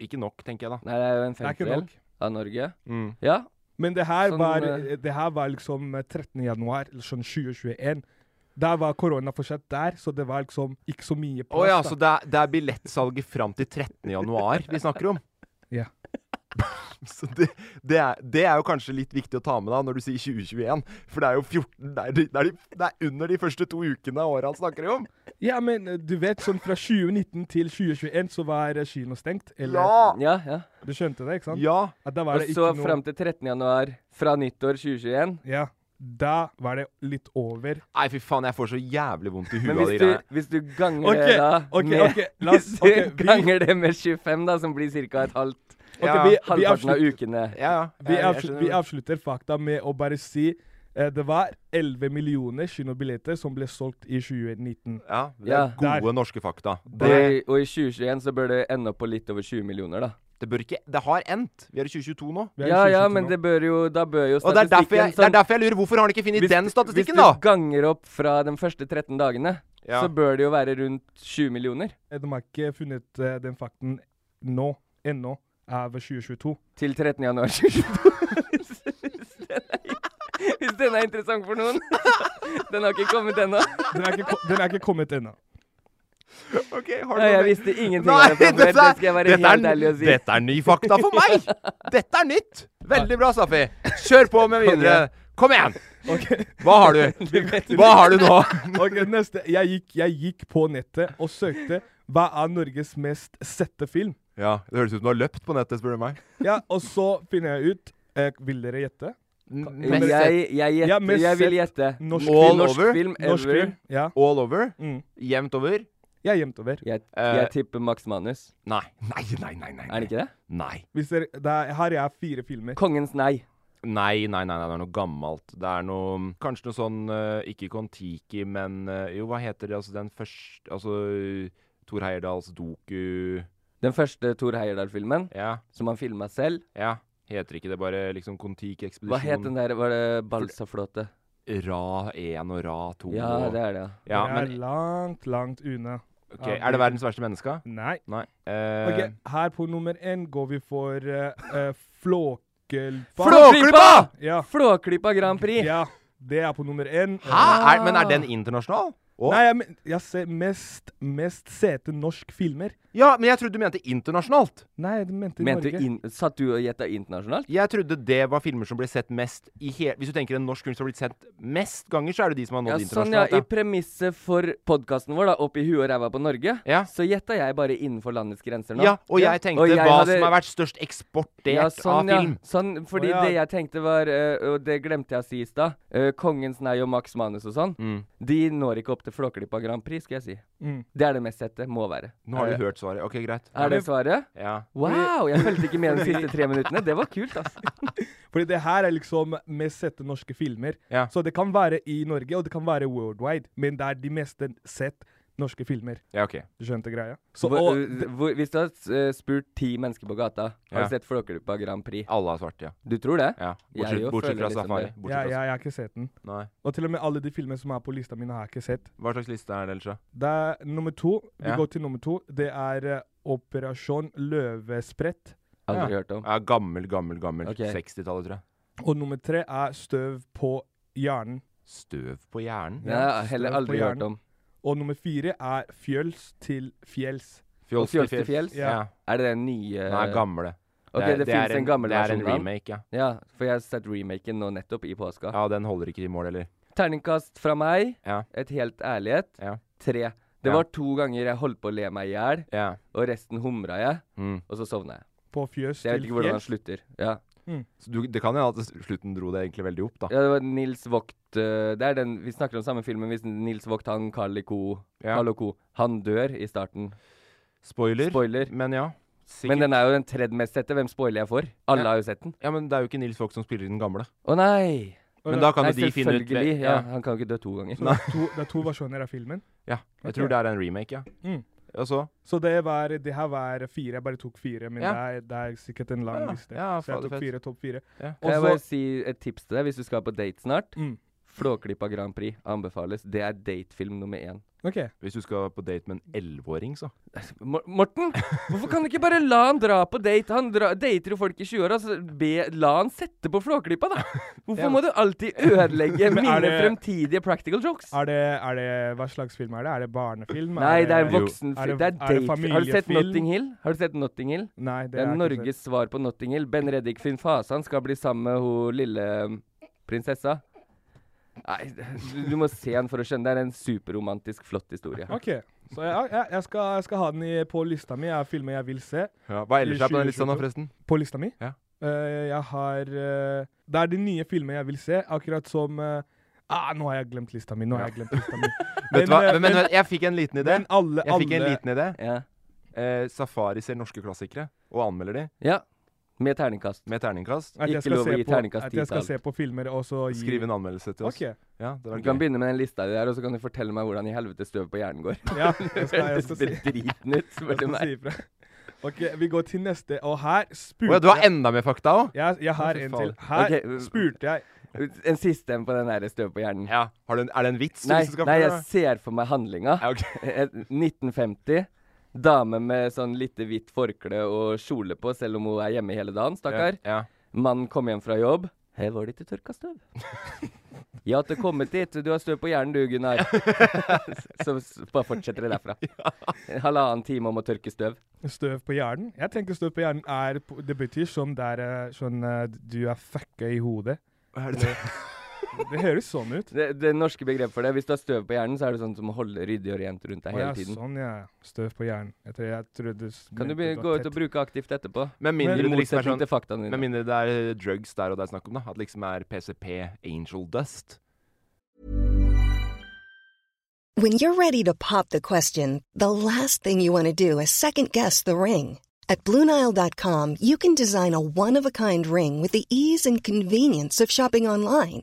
Speaker 4: ikke nok, tenker jeg da.
Speaker 5: Nei, det er jo en
Speaker 6: er ikke
Speaker 5: femtedel
Speaker 6: nok. Mm.
Speaker 5: av Norge. Ja.
Speaker 6: Men det her,
Speaker 5: Sånn,
Speaker 6: var,
Speaker 5: eh,
Speaker 6: det her var liksom eh, 13. januar, eller sånn 2021. Der var korona fortsatt der, så det var liksom ikke så mye
Speaker 4: Å
Speaker 6: plass.
Speaker 4: ja,
Speaker 6: da.
Speaker 4: så det er, det er billettsalget fram til 13. januar vi snakker om.
Speaker 6: Ja.
Speaker 4: Så det, det, er, det er jo kanskje litt viktig å ta med da når du sier 2021, for det er jo 14 Det er, de- det er, de, det er under de første to ukene av året han snakker om.
Speaker 6: ja, men eh, du vet, sånn fra 2019 til 2021 så var eh, kino stengt. Eller,
Speaker 5: ja, ja.
Speaker 6: Du skjønte det, ikke sant?
Speaker 4: Ja!
Speaker 6: At da var
Speaker 5: Og
Speaker 6: det
Speaker 5: så
Speaker 6: ikke noe...
Speaker 5: fram til 13. januar fra nyttår 2021.
Speaker 6: Ja. Da var det litt over.
Speaker 4: Nei, fy faen, jeg får så jævlig vondt i
Speaker 5: Men
Speaker 4: huet av de
Speaker 5: hvis du, hvis
Speaker 4: greiene.
Speaker 5: du ganger
Speaker 6: Ok,
Speaker 5: det da
Speaker 6: ok,
Speaker 5: med,
Speaker 6: ok, la oss-
Speaker 5: Hvis du
Speaker 6: ok, vi-
Speaker 5: ganger det med 25, da, som blir ca. et halvt
Speaker 4: Ja,
Speaker 6: vi-
Speaker 5: Halvparten av
Speaker 6: avslutter-
Speaker 5: ukene.
Speaker 4: Ja, ja.
Speaker 6: Vi,
Speaker 4: Jeg- jeg
Speaker 6: avslut,
Speaker 4: skjønner
Speaker 6: vi
Speaker 4: det.
Speaker 6: avslutter fakta med å bare si eh, det var 11 millioner kinobilletter som ble solgt i 2019.
Speaker 4: ja, det
Speaker 5: Ja.
Speaker 4: er gode norske fakta.
Speaker 5: Og
Speaker 4: Det,
Speaker 5: i, og i 2021 så bør det ende opp på litt over 20 millioner, da.
Speaker 4: det bør ikke Det har endt. Vi er i 2022 nå.
Speaker 6: Vi er i
Speaker 5: Ja, ja,
Speaker 6: 2022
Speaker 5: men
Speaker 6: nå.
Speaker 5: det bør jo, da bør jo
Speaker 4: Og det er,
Speaker 5: statistikken
Speaker 4: derfor jeg, det er
Speaker 5: sånn-
Speaker 4: derfor jeg lurer. Hvorfor har han ikke funnet den statistikken,
Speaker 5: hvis
Speaker 4: da?
Speaker 5: du ganger opp fra de første 13 dagene,
Speaker 4: Ja.
Speaker 5: så bør det jo være rundt 20 millioner.
Speaker 6: Eh, De har ikke funnet eh, den fakten nå, ennå, av 2022.
Speaker 5: Til 13. januar 2022. Hvis den er- Hvis den er interessant for noen. Den har ikke kommet ennå.
Speaker 6: Den er ikke, ko- den er ikke kommet ennå.
Speaker 4: Ok, har du
Speaker 5: Ja, jeg
Speaker 4: noe mer?
Speaker 5: visste ingenting
Speaker 4: Nei,
Speaker 5: av det fra før.
Speaker 4: dette,
Speaker 5: Det skal jeg være
Speaker 4: dette,
Speaker 5: helt ærlig
Speaker 4: er,
Speaker 5: og si.
Speaker 4: dette er ny fakta for meg! Dette er nytt! Veldig bra, Safi. Kjør på med videre. Kom igjen! Hva har du? Hva har du nå?
Speaker 6: Ok, neste. Jeg gikk, jeg gikk på nettet og søkte hva er Norges mest sette film.
Speaker 4: Ja, Det høres ut som du har løpt på nettet, spør du meg.
Speaker 6: Ja, Og så finner jeg ut eh, Vil dere gjette?
Speaker 5: Jeg, jeg, gjetter-
Speaker 6: Ja, mest
Speaker 5: jeg vil
Speaker 6: sett
Speaker 5: gjette.
Speaker 6: norsk
Speaker 4: All
Speaker 6: film.
Speaker 5: Norsk
Speaker 4: over?
Speaker 5: film
Speaker 6: Norsk
Speaker 5: ever.
Speaker 6: film. Ja.
Speaker 4: All over?
Speaker 6: Mm.
Speaker 4: Jevnt over?
Speaker 6: Jeg er gjemt over.
Speaker 5: Jeg,
Speaker 4: Eh.
Speaker 5: jeg tipper Max Manus.
Speaker 4: Nei. Nei, nei, nei. nei.
Speaker 5: Er det ikke det?
Speaker 4: Nei.
Speaker 6: Hvis dere, der, her er fire filmer.
Speaker 5: Kongens nei.
Speaker 4: Nei, nei, nei, nei, det er noe gammelt. Det er noe Kanskje noe sånn eh, Ikke Kon-Tiki, men eh, Jo, hva heter det? Altså den første Altså Thor Heyerdahls doku
Speaker 5: Den første Thor Heyerdahl-filmen,
Speaker 4: Ja,
Speaker 5: som han filma selv.
Speaker 4: ja. Heter ikke det bare liksom Kon-Tiki-ekspedisjon?
Speaker 5: Hva het den der? Var det Balsaflåte?
Speaker 4: Ra 1 og Ra 2.
Speaker 5: Ja,
Speaker 4: og,
Speaker 5: det er det. ja.
Speaker 4: ja,
Speaker 6: det er
Speaker 4: men,
Speaker 6: langt, langt unna.
Speaker 4: ok, Er det verdens verste menneske?
Speaker 6: Nei.
Speaker 4: Nei.
Speaker 6: Ok,
Speaker 4: Eh,
Speaker 6: Her på nummer én går vi for eh, eh, Flåkelpa.
Speaker 4: Flåklypa!
Speaker 6: Ja.
Speaker 5: Flåklypa Grand Prix!
Speaker 6: ja. Det er på nummer én.
Speaker 4: Hæ? Er, men er den internasjonal? Å?
Speaker 6: Ah. Nei, jeg, men- jeg ser mest, mest sete norsk filmer.
Speaker 4: Ja, men jeg trodde du mente internasjonalt.
Speaker 6: Nei, jeg mente i
Speaker 5: Mente du
Speaker 6: Norge.
Speaker 5: inn- Satt du og gjetta internasjonalt?
Speaker 4: Jeg trodde det var filmer som ble sett mest i hele Hvis du tenker en norsk film som har blitt sett mest ganger, så er det de som har nådd
Speaker 5: Ja, sånn, ja.
Speaker 4: internasjonalt.
Speaker 5: I
Speaker 4: ja.
Speaker 5: premisset for podkasten vår, da, opp i huet og ræva på Norge,
Speaker 4: Ja.
Speaker 5: så gjetta jeg bare innenfor landets grenser nå.
Speaker 4: Ja, og jeg tenkte
Speaker 5: Og jeg
Speaker 4: hva
Speaker 5: hadde-
Speaker 4: som har vært størst eksportert
Speaker 5: Ja, sånn,
Speaker 4: av
Speaker 5: ja.
Speaker 4: film.
Speaker 5: Sånn, fordi
Speaker 6: Å, ja.
Speaker 5: det jeg tenkte var, eh, og det glemte jeg å si i stad, eh, Kongens nei og Max Manus og sånn,
Speaker 4: Mm.
Speaker 5: de når ikke opp til Flåklypa Grand Prix, skal jeg si.
Speaker 6: Mm.
Speaker 5: Det er det mest sette. Må være.
Speaker 4: Nå har du hørt svaret. Ok, greit.
Speaker 5: Er det svaret?
Speaker 4: Ja.
Speaker 5: Wow! Jeg fulgte ikke med de siste tre minuttene. Det var kult, altså.
Speaker 6: Fordi det her er liksom mest sette norske filmer.
Speaker 4: Ja.
Speaker 6: Så det kan være i Norge, og det kan være worldwide. Men det er de mest sett norske filmer.
Speaker 4: Ja, ok.
Speaker 6: Du skjønte greia? Så,
Speaker 5: hvor,
Speaker 6: og,
Speaker 5: øh, hvor, hvis du har eh, spurt ti mennesker på gata Har du
Speaker 4: Ja.
Speaker 5: sett Flåklypa Grand Prix?
Speaker 4: Alle har svart, ja.
Speaker 5: Du tror det?
Speaker 4: ja.
Speaker 5: Jeg
Speaker 4: Bortsett,
Speaker 5: jo
Speaker 4: bortsett
Speaker 5: føler
Speaker 4: fra
Speaker 5: liksom
Speaker 4: Safari.
Speaker 5: det.
Speaker 4: Bortsett
Speaker 6: ja,
Speaker 4: fra-
Speaker 6: ja, jeg har ikke sett den.
Speaker 4: Nei.
Speaker 6: Og til og med alle de filmene som er på lista mi, har jeg ikke sett.
Speaker 4: Hva slags liste er det ellers, da?
Speaker 6: Det er nummer to. Vi
Speaker 4: Ja.
Speaker 6: går til nummer to. Det er eh, Operasjon Løvesprett.
Speaker 5: Aldri
Speaker 4: Ja.
Speaker 5: hørt om.
Speaker 4: Ja, gammel, gammel, gammel.
Speaker 5: Ok.
Speaker 4: 60-tallet, tror jeg.
Speaker 6: Og nummer tre er Støv på hjernen.
Speaker 4: Støv på hjernen.
Speaker 5: Det har jeg heller
Speaker 6: Støv på
Speaker 5: aldri hørt
Speaker 6: hjernen.
Speaker 5: om.
Speaker 6: Og nummer fire er Fjöls til fjells.
Speaker 4: Fjols
Speaker 5: Og Fjols til fjells?
Speaker 4: Ja.
Speaker 5: Er det den nye
Speaker 4: Nei, gamle.
Speaker 5: Eh, Ok,
Speaker 4: er-
Speaker 5: det,
Speaker 4: er
Speaker 5: finnes en gammel
Speaker 4: Det er
Speaker 5: versjon av
Speaker 4: en
Speaker 5: den.
Speaker 4: remake, ja.
Speaker 5: Ja, for jeg har sett remaken nå nettopp i påska.
Speaker 4: Ja, den holder ikke i mål, eller?
Speaker 5: Terningkast fra meg,
Speaker 4: Ja.
Speaker 5: et helt ærlighet,
Speaker 4: Ja.
Speaker 5: tre. Det
Speaker 4: Ja.
Speaker 5: var to ganger jeg holdt på å le meg i hjel,
Speaker 4: Ja.
Speaker 5: og resten humra jeg,
Speaker 4: Mm.
Speaker 5: og så sovna jeg.
Speaker 6: På fjøs
Speaker 5: Så jeg vet
Speaker 6: til
Speaker 5: ikke hvordan han
Speaker 6: fjells.
Speaker 5: slutter. Ja.
Speaker 4: Så du, det kan jo hende at slutten dro det egentlig veldig opp, da.
Speaker 5: ja, det var Nils Vogt øh, Det er den vi snakker om samme filmen hvis Nils Vogt, han Carl I. Co.
Speaker 4: Ja.
Speaker 5: Carl O. Co. Han dør i starten.
Speaker 4: Spoiler.
Speaker 5: Spoiler.
Speaker 4: Men ja.
Speaker 5: Men den er jo den tredje mest sette. Hvem spoiler jeg for? Alle
Speaker 4: Ja.
Speaker 5: har jo sett den.
Speaker 4: Ja, men det er jo ikke Nils Vogt som spiller i den gamle.
Speaker 5: Å nei!
Speaker 4: Men da kan
Speaker 5: nei,
Speaker 4: jo de finne ut
Speaker 5: selvfølgelig. Ja, han kan jo ikke dø to ganger.
Speaker 6: Så det, er to, det er to versjoner av filmen.
Speaker 4: ja. Jeg
Speaker 6: Ok.
Speaker 4: tror det er en remake, ja.
Speaker 6: Mm.
Speaker 4: Og så
Speaker 6: Så det, var, det her var fire. Jeg bare tok fire, men
Speaker 4: Ja.
Speaker 6: det, er, det er sikkert en lang
Speaker 4: Ja,
Speaker 6: liste.
Speaker 4: ja,
Speaker 6: så jeg
Speaker 4: fader
Speaker 6: tok
Speaker 4: fett.
Speaker 6: fire, topp fire.
Speaker 4: Ja.
Speaker 6: Og
Speaker 5: Kan jeg
Speaker 6: så-
Speaker 5: bare si et tips til deg hvis du skal på date snart?
Speaker 6: Mm.
Speaker 5: Flåklypa Grand Prix anbefales. Det er datefilm nummer én.
Speaker 6: OK.
Speaker 4: Hvis du skal på date med en elleveåring, så.
Speaker 5: Mor- Morten, hvorfor kan du ikke bare la han dra på date? Han dra, dater jo folk i 20-åra, så be, la han sette på Flåklypa, da! Hvorfor må du alltid ødelegge
Speaker 6: Men
Speaker 5: mine
Speaker 6: er det-
Speaker 5: fremtidige practical jokes?
Speaker 6: Er det, er det Hva slags film er det? Er det barnefilm?
Speaker 5: Nei, det er
Speaker 4: Jo.
Speaker 5: voksenfilm.
Speaker 6: Er det-
Speaker 5: Det er
Speaker 6: er det
Speaker 5: datefilm. Har du sett
Speaker 6: familiefilm?
Speaker 5: Notting Hill? Har du sett Notting Hill?
Speaker 6: Nei, det,
Speaker 5: Det er
Speaker 6: har jeg ikke
Speaker 5: Norges svar på Notting Hill. Ben Reddik Finn Fasan skal bli sammen med hun lille um, prinsessa. Nei, du- du må se den for å skjønne. Det er en superromantisk, flott historie.
Speaker 6: sett. OK. Så jeg, jeg, jeg, skal, jeg skal ha den i, på lista mi. Jeg har filmer jeg vil se.
Speaker 4: Ja. Hva ellers er på den
Speaker 6: I
Speaker 4: lista nå,
Speaker 6: 2022?
Speaker 4: forresten?
Speaker 6: På lista mi?
Speaker 4: Ja.
Speaker 6: Eh, jeg har eh, Det er de nye filmene jeg vil se, akkurat som eh, Ah, nå har jeg glemt lista mi! Nå har jeg glemt lista mi.
Speaker 4: Vet du hva?
Speaker 6: eh,
Speaker 4: Men, men, jeg fikk en liten idé.
Speaker 6: men alle,
Speaker 4: Jeg fikk en
Speaker 6: alle
Speaker 4: liten idé.
Speaker 5: Ja.
Speaker 4: Eh, Safari ser norske klassikere og anmelder de
Speaker 5: ja. Med terningkast.
Speaker 4: med terningkast.
Speaker 6: at jeg
Speaker 5: Ikke
Speaker 6: skal
Speaker 5: lov å
Speaker 6: se
Speaker 5: gi
Speaker 6: på-
Speaker 5: terningkast
Speaker 6: At jeg skal
Speaker 5: til
Speaker 6: se på filmer og så gi
Speaker 4: Skriv en anmeldelse til oss.
Speaker 6: OK.
Speaker 4: Ja, det
Speaker 5: Du
Speaker 4: var
Speaker 5: kan
Speaker 4: gøy.
Speaker 5: begynne med den lista di der, og så kan du fortelle meg hvordan i helvete støv på hjernen går.
Speaker 6: Ja, jeg skal, jeg skal,
Speaker 5: Høres
Speaker 6: si,
Speaker 5: bedriten ut,
Speaker 6: jeg
Speaker 5: spør du
Speaker 6: skal si
Speaker 5: meg.
Speaker 6: ifra. OK, vi går til neste, og her
Speaker 4: Å
Speaker 6: spurte
Speaker 4: ja, du har enda mer fakta òg?
Speaker 6: jeg, jeg har
Speaker 4: Å, fy
Speaker 6: en
Speaker 4: faen.
Speaker 6: til. Her
Speaker 5: Ok, øh,
Speaker 6: spurte jeg
Speaker 5: En siste en på den der støv på hjernen.
Speaker 4: Ja. Har du en, er det en vits?
Speaker 5: Nei,
Speaker 4: du skal
Speaker 5: nei, jeg
Speaker 4: fortelle?
Speaker 5: ser for meg handlinga.
Speaker 4: Ja, ok.
Speaker 5: Eh, 1950. Dame med sånn lite hvitt forkle og kjole på, selv om hun er hjemme hele dagen, stakkar.
Speaker 4: Ja.
Speaker 5: Mannen kom hjem fra jobb. Her var det ikke tørka støv. Ja, at du har kommet dit. Du har støv på hjernen du, Gunnar. Så s- bare fortsetter det derfra. En halvannen time om å tørke støv.
Speaker 6: støv på hjernen. Jeg tenker støv på hjernen er på- Det betyr sånn der eh, sånn eh, Du er fucka i hodet.
Speaker 4: Hva er det?
Speaker 6: Det høres sånn ut.
Speaker 5: Det, det norske begrepet for det, hvis du har støv på hjernen, så er det sånn som å holde ryddig og rent rundt deg
Speaker 6: Å ja,
Speaker 5: hele tiden.
Speaker 6: sånn, ja. Støv på hjernen. Jeg tror, jeg tror du s-
Speaker 5: Kan du
Speaker 6: mente
Speaker 5: begynne,
Speaker 6: var
Speaker 5: gå ut
Speaker 6: tett.
Speaker 5: og bruke aktivt etterpå?
Speaker 4: Med mindre
Speaker 5: I
Speaker 4: det liksom er
Speaker 5: motsetning
Speaker 4: sånn
Speaker 5: til faktaene
Speaker 4: Med
Speaker 5: dine.
Speaker 4: mindre det er eh, drugs der og det er snakk om, da. At liksom er PCP angel dust.
Speaker 2: When you're ready to pop the question, the last thing you want to do is second guess the ring. At Bluenile.com, you can design a one of a kind ring with the ease and convenience of shopping online.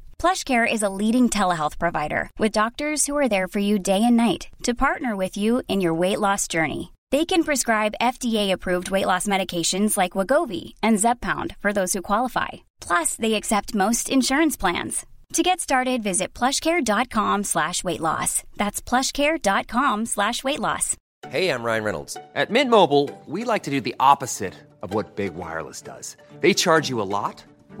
Speaker 8: PlushCare is a leading telehealth provider with doctors who are there for you day and night to partner with you in your weight loss journey. They can prescribe FDA-approved weight loss medications like Wagovi and Zepbound for those who qualify. Plus, they accept most insurance plans. To get started, visit plushcare.com slash weight loss. That's plushcare.com slash weight loss.
Speaker 9: Hey, I'm Ryan Reynolds. At Mint Mobile, we like to do the opposite of what Big Wireless does. They charge you a lot,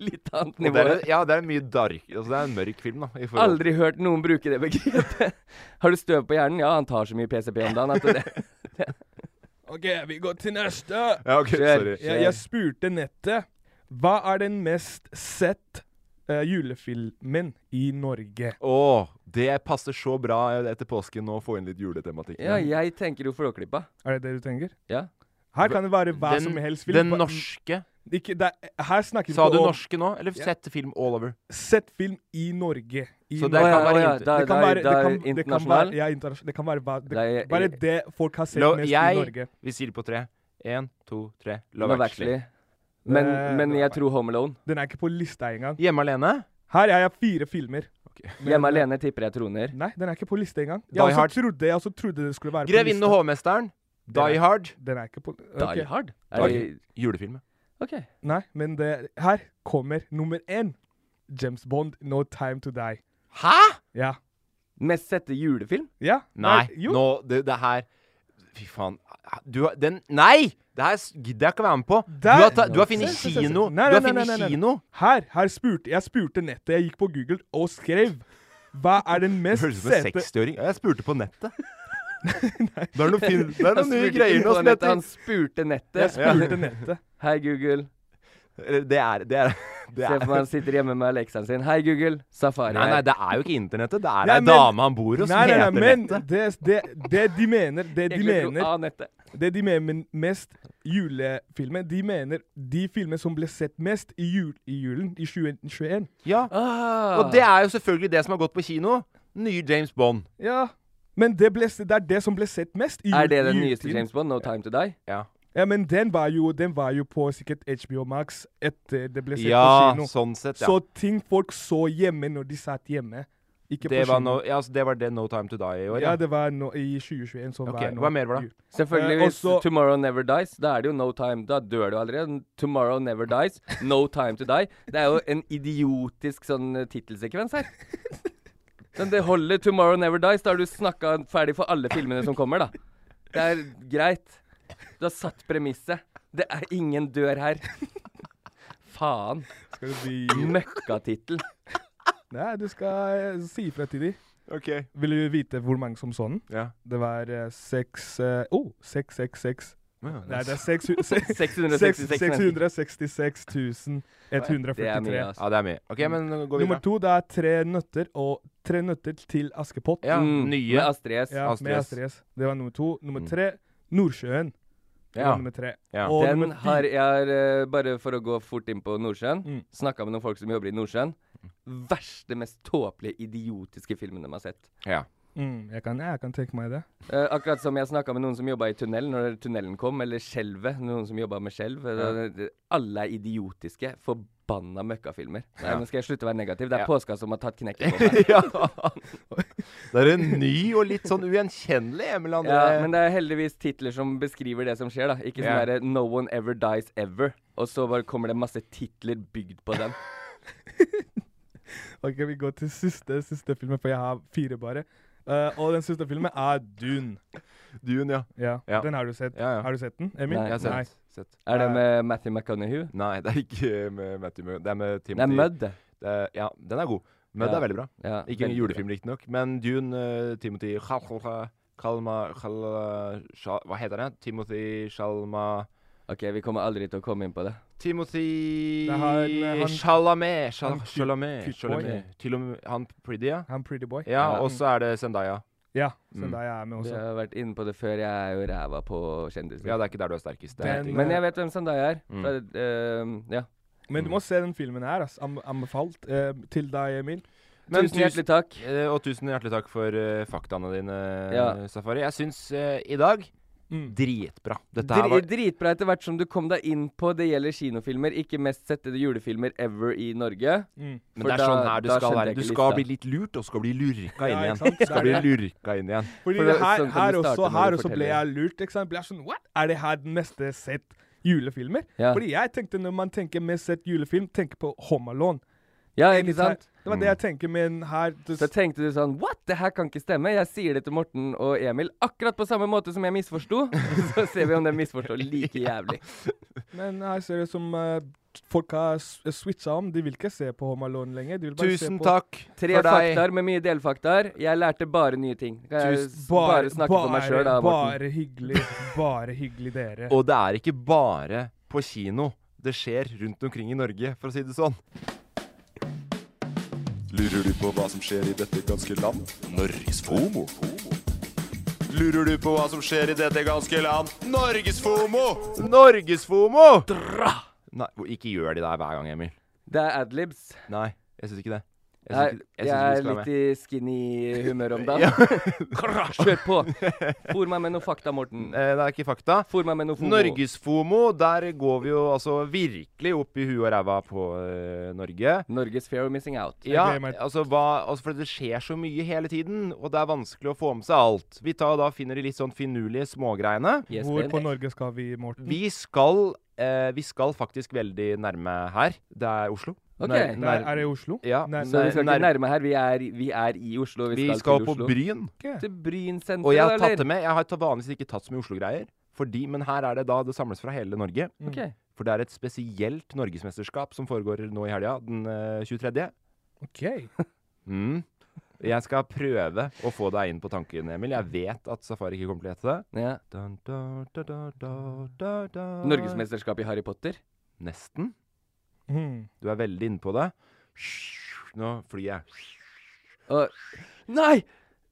Speaker 5: litt annet
Speaker 4: Og det
Speaker 5: nivå.
Speaker 4: er, ja, det er en mye dark altså Det er en mørk film, da. I forhold-
Speaker 5: Aldri hørt noen bruke det begrepet. Har du støv på hjernen? Ja, han tar så mye PCP om dagen at det, det
Speaker 6: OK, vi går til neste.
Speaker 4: Ja, ok, Kjør, sorry. kjør.
Speaker 6: Jeg, jeg spurte nettet hva er den mest sett eh, julefilmen i Norge.
Speaker 4: Å, det passer så bra etter påsken nå å få inn litt juletematikk.
Speaker 5: Ja, jeg tenker jo Flåklypa.
Speaker 6: Er det det du tenker?
Speaker 5: Ja.
Speaker 6: Her kan det være hva
Speaker 4: Den-
Speaker 6: som helst.
Speaker 4: den
Speaker 6: Hva-
Speaker 4: norske?
Speaker 6: Ikke, det, er- her snakker vi
Speaker 4: Sa
Speaker 6: ikke
Speaker 4: du
Speaker 6: om-
Speaker 4: norske nå, eller sett film all over?
Speaker 6: Sett film i Norge. I
Speaker 4: Så det
Speaker 6: Norge.
Speaker 4: kan være-
Speaker 6: Det
Speaker 4: da-
Speaker 6: kan
Speaker 4: da-
Speaker 6: være-
Speaker 4: da
Speaker 6: det kan- det kan være-
Speaker 4: internasjonal?
Speaker 6: Ja, internasjonal. Det kan være hva- det-
Speaker 4: Da er-
Speaker 6: bare det folk har sett
Speaker 4: Lo-
Speaker 6: mest
Speaker 4: jeg,
Speaker 6: i Norge.
Speaker 4: Vi sier det på tre. Én, to, tre.
Speaker 5: Love Actually. Men,
Speaker 6: Eh,
Speaker 5: men jeg tror Home Alone.
Speaker 6: Den er ikke på lista engang.
Speaker 4: Hjemme alene?
Speaker 6: Her er jeg fire filmer.
Speaker 5: Hjemme alene tipper jeg troner.
Speaker 6: Nei, den er ikke på lista engang.
Speaker 5: Die
Speaker 6: Jeg også
Speaker 5: Hard.
Speaker 6: trodde, jeg også trodde det skulle være på
Speaker 4: Grevinnen og hovmesteren.
Speaker 6: Den
Speaker 4: Die
Speaker 6: er-
Speaker 4: Hard.
Speaker 6: Den er ikke på
Speaker 5: Die
Speaker 6: ok.
Speaker 5: Hard?
Speaker 4: Er det- Julefilm.
Speaker 5: OK.
Speaker 6: Nei, men det, her kommer nummer én. James Bond, No Time To Die.
Speaker 4: Hæ?!
Speaker 6: Ja.
Speaker 5: Mest sette julefilm?
Speaker 6: Ja.
Speaker 4: Nei,
Speaker 6: jo.
Speaker 4: nå Det, det her Fy faen. Du har Den Nei! Det her s- gidder jeg ikke å være med på. du har, ta, du har funnet
Speaker 6: Se, se, se, se.
Speaker 4: kino.
Speaker 6: altså. Nei,
Speaker 4: du har
Speaker 6: nei, nei,
Speaker 4: funnet
Speaker 6: nei, nei, nei.
Speaker 4: kino.
Speaker 6: Her, her spurte jeg spurte nettet. Jeg gikk på Google og skrev Hva er den mest
Speaker 4: Høres ut som en
Speaker 6: sete
Speaker 4: 60-åring. Jeg spurte på nettet. Det er noe fin- det er
Speaker 5: Han
Speaker 4: noen nye
Speaker 5: spurte
Speaker 4: greier
Speaker 5: ikke
Speaker 4: nå
Speaker 5: på
Speaker 4: som
Speaker 5: nettet,
Speaker 4: heter
Speaker 5: Han spurte nettet.
Speaker 6: Jeg spurte nettet.
Speaker 5: Hei, Google.
Speaker 4: Det er Det er, det
Speaker 5: Se
Speaker 4: er.
Speaker 5: for meg han sitter hjemme med Alexaen sin. Hei, Google. Safari.
Speaker 4: Nei, nei,
Speaker 5: her.
Speaker 4: det er jo ikke internettet. Det er
Speaker 6: Nei,
Speaker 4: ei
Speaker 6: men-
Speaker 4: dame han bor hos som
Speaker 6: Nei, nei,
Speaker 4: heter
Speaker 6: nei, men
Speaker 4: Nettet.
Speaker 6: det, det, det de mener Det de
Speaker 5: Jeg glemte noe av
Speaker 6: mener
Speaker 5: nettet.
Speaker 6: Det de mener med mest julefilmer De mener de filmer som ble sett mest i, jul, i julen i 2021.
Speaker 4: Ja.
Speaker 6: Ah.
Speaker 4: Og det er jo selvfølgelig det som har gått på kino. Nye James Bond.
Speaker 6: Ja. Men det, ble, det er det som ble sett mest i jul.
Speaker 5: Er det den
Speaker 6: i
Speaker 5: nyeste
Speaker 6: juletiden.
Speaker 5: James Bond? No Time To Die?
Speaker 4: Ja.
Speaker 6: Ja, men den var jo, den var jo på sikkert HBO Max etter det ble sett
Speaker 4: Ja,
Speaker 6: på kino.
Speaker 4: sånn sett, ja.
Speaker 6: Så ting folk så hjemme når de satt hjemme. Ikke
Speaker 4: Det
Speaker 6: på
Speaker 4: var,
Speaker 6: kino.
Speaker 4: no, ja, altså, det var det No Time To Die i år,
Speaker 6: Ja, det var nå i 2021 som
Speaker 4: Ok,
Speaker 6: var nå.
Speaker 4: Hva mer var det?
Speaker 5: Selvfølgelig.
Speaker 6: Eh, og
Speaker 5: Hvis
Speaker 6: så-
Speaker 5: Tomorrow Never Dies, da er det jo No Time Da dør du allerede. Tomorrow Never Dies, No Time To Die. Det er jo en idiotisk sånn eh, tittelsekvens her. Men det holder. Tomorrow Never Dies. Da har du snakka ferdig for alle filmene som kommer, da. Det er greit. Du har satt premisset. Det er ingen dør her. Faen.
Speaker 6: Skal det bli
Speaker 5: Møkkatittel.
Speaker 6: Nei, du skal eh, si ifra til de.
Speaker 4: Ok.
Speaker 6: Vil du vite hvor mange som så den?
Speaker 4: Ja.
Speaker 6: Det var eh, seks eh, Oh, 666.
Speaker 4: Ja,
Speaker 6: Nei, det er seks hu- se-
Speaker 5: 666
Speaker 6: seks- 666 143.
Speaker 5: Det er mye, altså.
Speaker 4: Ja, det er mye. Ok, men gå videre.
Speaker 6: Nummer to, det er Tre nøtter og Tre nøtter til Askepott.
Speaker 4: Ja,
Speaker 5: Mm, Med
Speaker 4: nye.
Speaker 5: Astrid S.
Speaker 6: Ja, med
Speaker 4: Astrid Mm.
Speaker 6: Astrid S. Det var nummer to. Nummer tre, Nordsjøen. Det
Speaker 4: Ja.
Speaker 6: var nummer tre.
Speaker 4: Ja.
Speaker 6: Og
Speaker 5: Den
Speaker 6: nummer fi-
Speaker 5: har jeg har, eh, Bare for å gå fort inn på Nordsjøen.
Speaker 6: Mm.
Speaker 5: Snakket Snakka med noen folk som jobber i Nordsjøen. Verste, mest tåpelige, idiotiske filmen de har sett.
Speaker 4: Ja.
Speaker 6: mm, jeg, kan, jeg kan tenke meg det.
Speaker 5: Eh, akkurat som jeg snakka med noen som jobba i tunnel når tunnelen kom, eller skjelvet. Noen som jobba med skjelv. Eh, det- Alle er idiotiske. Forbanna møkkafilmer. Nei, nå skal jeg slutte å være negativ. Det er
Speaker 4: Ja.
Speaker 5: påska som har tatt knekken på meg.
Speaker 4: ja. Det er en ny og litt sånn ugjenkjennelig Emil André.
Speaker 5: Ja, men det er heldigvis titler som beskriver det som skjer, da. Ikke sånn
Speaker 4: Ja.
Speaker 5: derre 'No one ever dies ever', og så bare kommer det masse titler bygd på den.
Speaker 6: Ok, Vi går til siste, siste filmen, for jeg har fire bare. Eh, og den siste filmen er Dune.
Speaker 4: Dune, ja.
Speaker 6: Ja,
Speaker 4: Ja.
Speaker 6: Den har du sett.
Speaker 4: Ja, ja.
Speaker 6: Har du sett den, Emil?
Speaker 5: Nei.
Speaker 4: Jeg har
Speaker 5: Nei.
Speaker 4: sett. sett.
Speaker 5: Er det med Matthew McConaughey?
Speaker 4: Nei, Eh, det er ikke med Matthew Mug. Det er med
Speaker 5: Det er
Speaker 4: Timothy.
Speaker 5: Mud. det.
Speaker 4: Det er- ja, den er god. Mud
Speaker 5: Ja.
Speaker 4: er veldig bra.
Speaker 5: Ja,
Speaker 4: Ikke en
Speaker 5: veldig
Speaker 4: julefilm, riktignok. Men Dune, eh, Timothy Kalma, Kalma Sha- Hva heter den? Timothy Shalma
Speaker 5: bra. OK, vi kommer aldri til å komme inn på det.
Speaker 4: Timothy
Speaker 6: Det er
Speaker 5: eh,
Speaker 6: han- han-
Speaker 4: Chalamet. Chal-
Speaker 6: han cute-
Speaker 4: Chalamet.
Speaker 6: cute boy.
Speaker 4: Chalamet. Til og med han Pretty, ja. Mm.
Speaker 6: Han Pretty Boy.
Speaker 4: Ja, og så er det Zendaya.
Speaker 6: Ja, så da er jeg med også.
Speaker 5: Du har vært inne på det før. Jeg er jo ræva på kjendiser.
Speaker 4: Ja, det er ikke der du er sterkest. Det er
Speaker 5: Men,
Speaker 4: helt
Speaker 5: men jeg
Speaker 4: riktig.
Speaker 5: vet hvem Zendaya er.
Speaker 4: Mm.
Speaker 5: Fra, eh, ja.
Speaker 6: Men du må se den filmen her. ass. Am- Anbefalt eh, til deg, Emil.
Speaker 4: Men
Speaker 5: Tusen hjertelig takk.
Speaker 4: eh, Og tusen hjertelig takk for eh, faktaene dine,
Speaker 5: Ja.
Speaker 4: Safari. Jeg syns eh, i dag
Speaker 5: Mm.
Speaker 4: dritbra. Dette her
Speaker 5: Dri-
Speaker 4: var
Speaker 5: Dritbra etter hvert som du kom deg inn på det gjelder kinofilmer. Ikke mest settede julefilmer ever i Norge.
Speaker 6: Mm.
Speaker 4: Men
Speaker 5: For
Speaker 4: det er
Speaker 5: da-
Speaker 4: sånn her du
Speaker 5: da
Speaker 4: skal
Speaker 5: skjønte
Speaker 4: være.
Speaker 5: jeg
Speaker 4: Du
Speaker 5: ikke
Speaker 4: skal
Speaker 5: lista.
Speaker 4: bli litt lurt, og skal bli lurka inn
Speaker 6: Ja, ikke
Speaker 4: igjen.
Speaker 6: sant? Det
Speaker 4: Skal
Speaker 6: er
Speaker 4: bli
Speaker 6: det.
Speaker 4: lurka inn igjen.
Speaker 6: Fordi
Speaker 5: For det-
Speaker 6: her,
Speaker 5: sånn du
Speaker 6: her,
Speaker 5: starter
Speaker 6: også,
Speaker 5: når
Speaker 6: her
Speaker 5: du
Speaker 6: også ble
Speaker 5: forteller.
Speaker 6: jeg lurt. Ikke sant? Ble jeg sånn, What? Er det her den meste sett julefilmer?
Speaker 5: Ja.
Speaker 6: Fordi jeg tenkte når man tenker mest sett julefilm, tenker på Home Alone.
Speaker 5: Ja, ikke sant? Mm.
Speaker 6: Det var det jeg tenker, men her det,
Speaker 5: Så tenkte du sånn What? Det her kan ikke stemme. Jeg sier det til Morten og Emil akkurat på samme måte som jeg misforsto. Så ser vi om de misforstår like jævlig.
Speaker 6: Men her ser det ut som eh, folk har s- switcha om. De vil ikke se på Home Alone lenger. De vil bare se
Speaker 4: Tusen
Speaker 6: på
Speaker 4: takk
Speaker 5: Tre
Speaker 4: for deg.
Speaker 5: faktaer med mye delfaktaer. Jeg lærte bare nye ting. Kan jeg
Speaker 4: Tusen-
Speaker 5: s- bare snakke for meg sjøl, da, Morten?
Speaker 6: Bare hyggelig. Bare hyggelig, dere.
Speaker 4: Og det er ikke bare på kino. Det skjer rundt omkring i Norge, for å si det sånn.
Speaker 7: Lurer du på hva som skjer i dette ganske land? Norges FOMO. Lurer du på hva som skjer i dette ganske land? Norges FOMO!
Speaker 4: Norgesfomo! Nei, hvor- ikke gjør de det hver gang, Emil.
Speaker 5: Det er adlibs.
Speaker 4: Nei, jeg syns ikke det. Jeg syns
Speaker 5: Jeg,
Speaker 4: ikke-
Speaker 5: jeg,
Speaker 4: jeg syns
Speaker 5: er
Speaker 4: ikke det skal være
Speaker 5: litt
Speaker 4: med.
Speaker 5: i skinny humør om dagen. Kjør på! Fôr meg med noe fakta, Morten.
Speaker 4: Eh, Det er ikke fakta.
Speaker 5: Fôr meg med noe fomo.
Speaker 4: Norgesfomo, der går vi jo altså virkelig opp i huet og ræva på eh, Norge.
Speaker 5: Norges fair of missing out.
Speaker 4: Ja,
Speaker 6: gleder meg.
Speaker 4: altså, hva, altså for det skjer så mye hele tiden, og det er vanskelig å få med seg alt. Vi tar da finner de litt sånn finurlige smågreiene.
Speaker 5: Yes,
Speaker 6: Hvor
Speaker 5: Ben.
Speaker 6: på Norge skal vi, Morten?
Speaker 4: Vi skal, eh, vi skal faktisk veldig nærme her. Det er Oslo.
Speaker 5: Ok.
Speaker 4: Nær-
Speaker 6: Der,
Speaker 4: nær-
Speaker 6: er det i Oslo?
Speaker 4: Ja,
Speaker 6: Nei,
Speaker 5: Så vi skal ikke
Speaker 4: nær-
Speaker 5: nærme her. Vi er, vi er i Oslo. Vi,
Speaker 4: vi
Speaker 5: skal,
Speaker 4: skal
Speaker 5: til
Speaker 4: på
Speaker 5: Oslo.
Speaker 4: Bryn.
Speaker 5: Til Bryn senter,
Speaker 4: Og jeg har
Speaker 5: eller?
Speaker 4: tatt det med. Jeg har ta- vanligvis ikke tatt så mye Oslo-greier. Fordi, Men her er det da det samles fra hele Norge.
Speaker 5: Mm. Ok.
Speaker 6: Mm.
Speaker 4: For det er et spesielt norgesmesterskap som foregår nå i helga, den eh, 23.
Speaker 6: OK.
Speaker 4: Mm. Jeg skal prøve å få deg inn på tanken, Emil. Jeg vet at Safari ikke kommer til å gjette det.
Speaker 5: Ja.
Speaker 4: Dun, dun, dun, dun, dun, dun, dun.
Speaker 5: Norgesmesterskap i Harry Potter.
Speaker 4: Nesten.
Speaker 6: Mm.
Speaker 4: Du er veldig inne på det. Nå flyr jeg.
Speaker 5: Og Nei!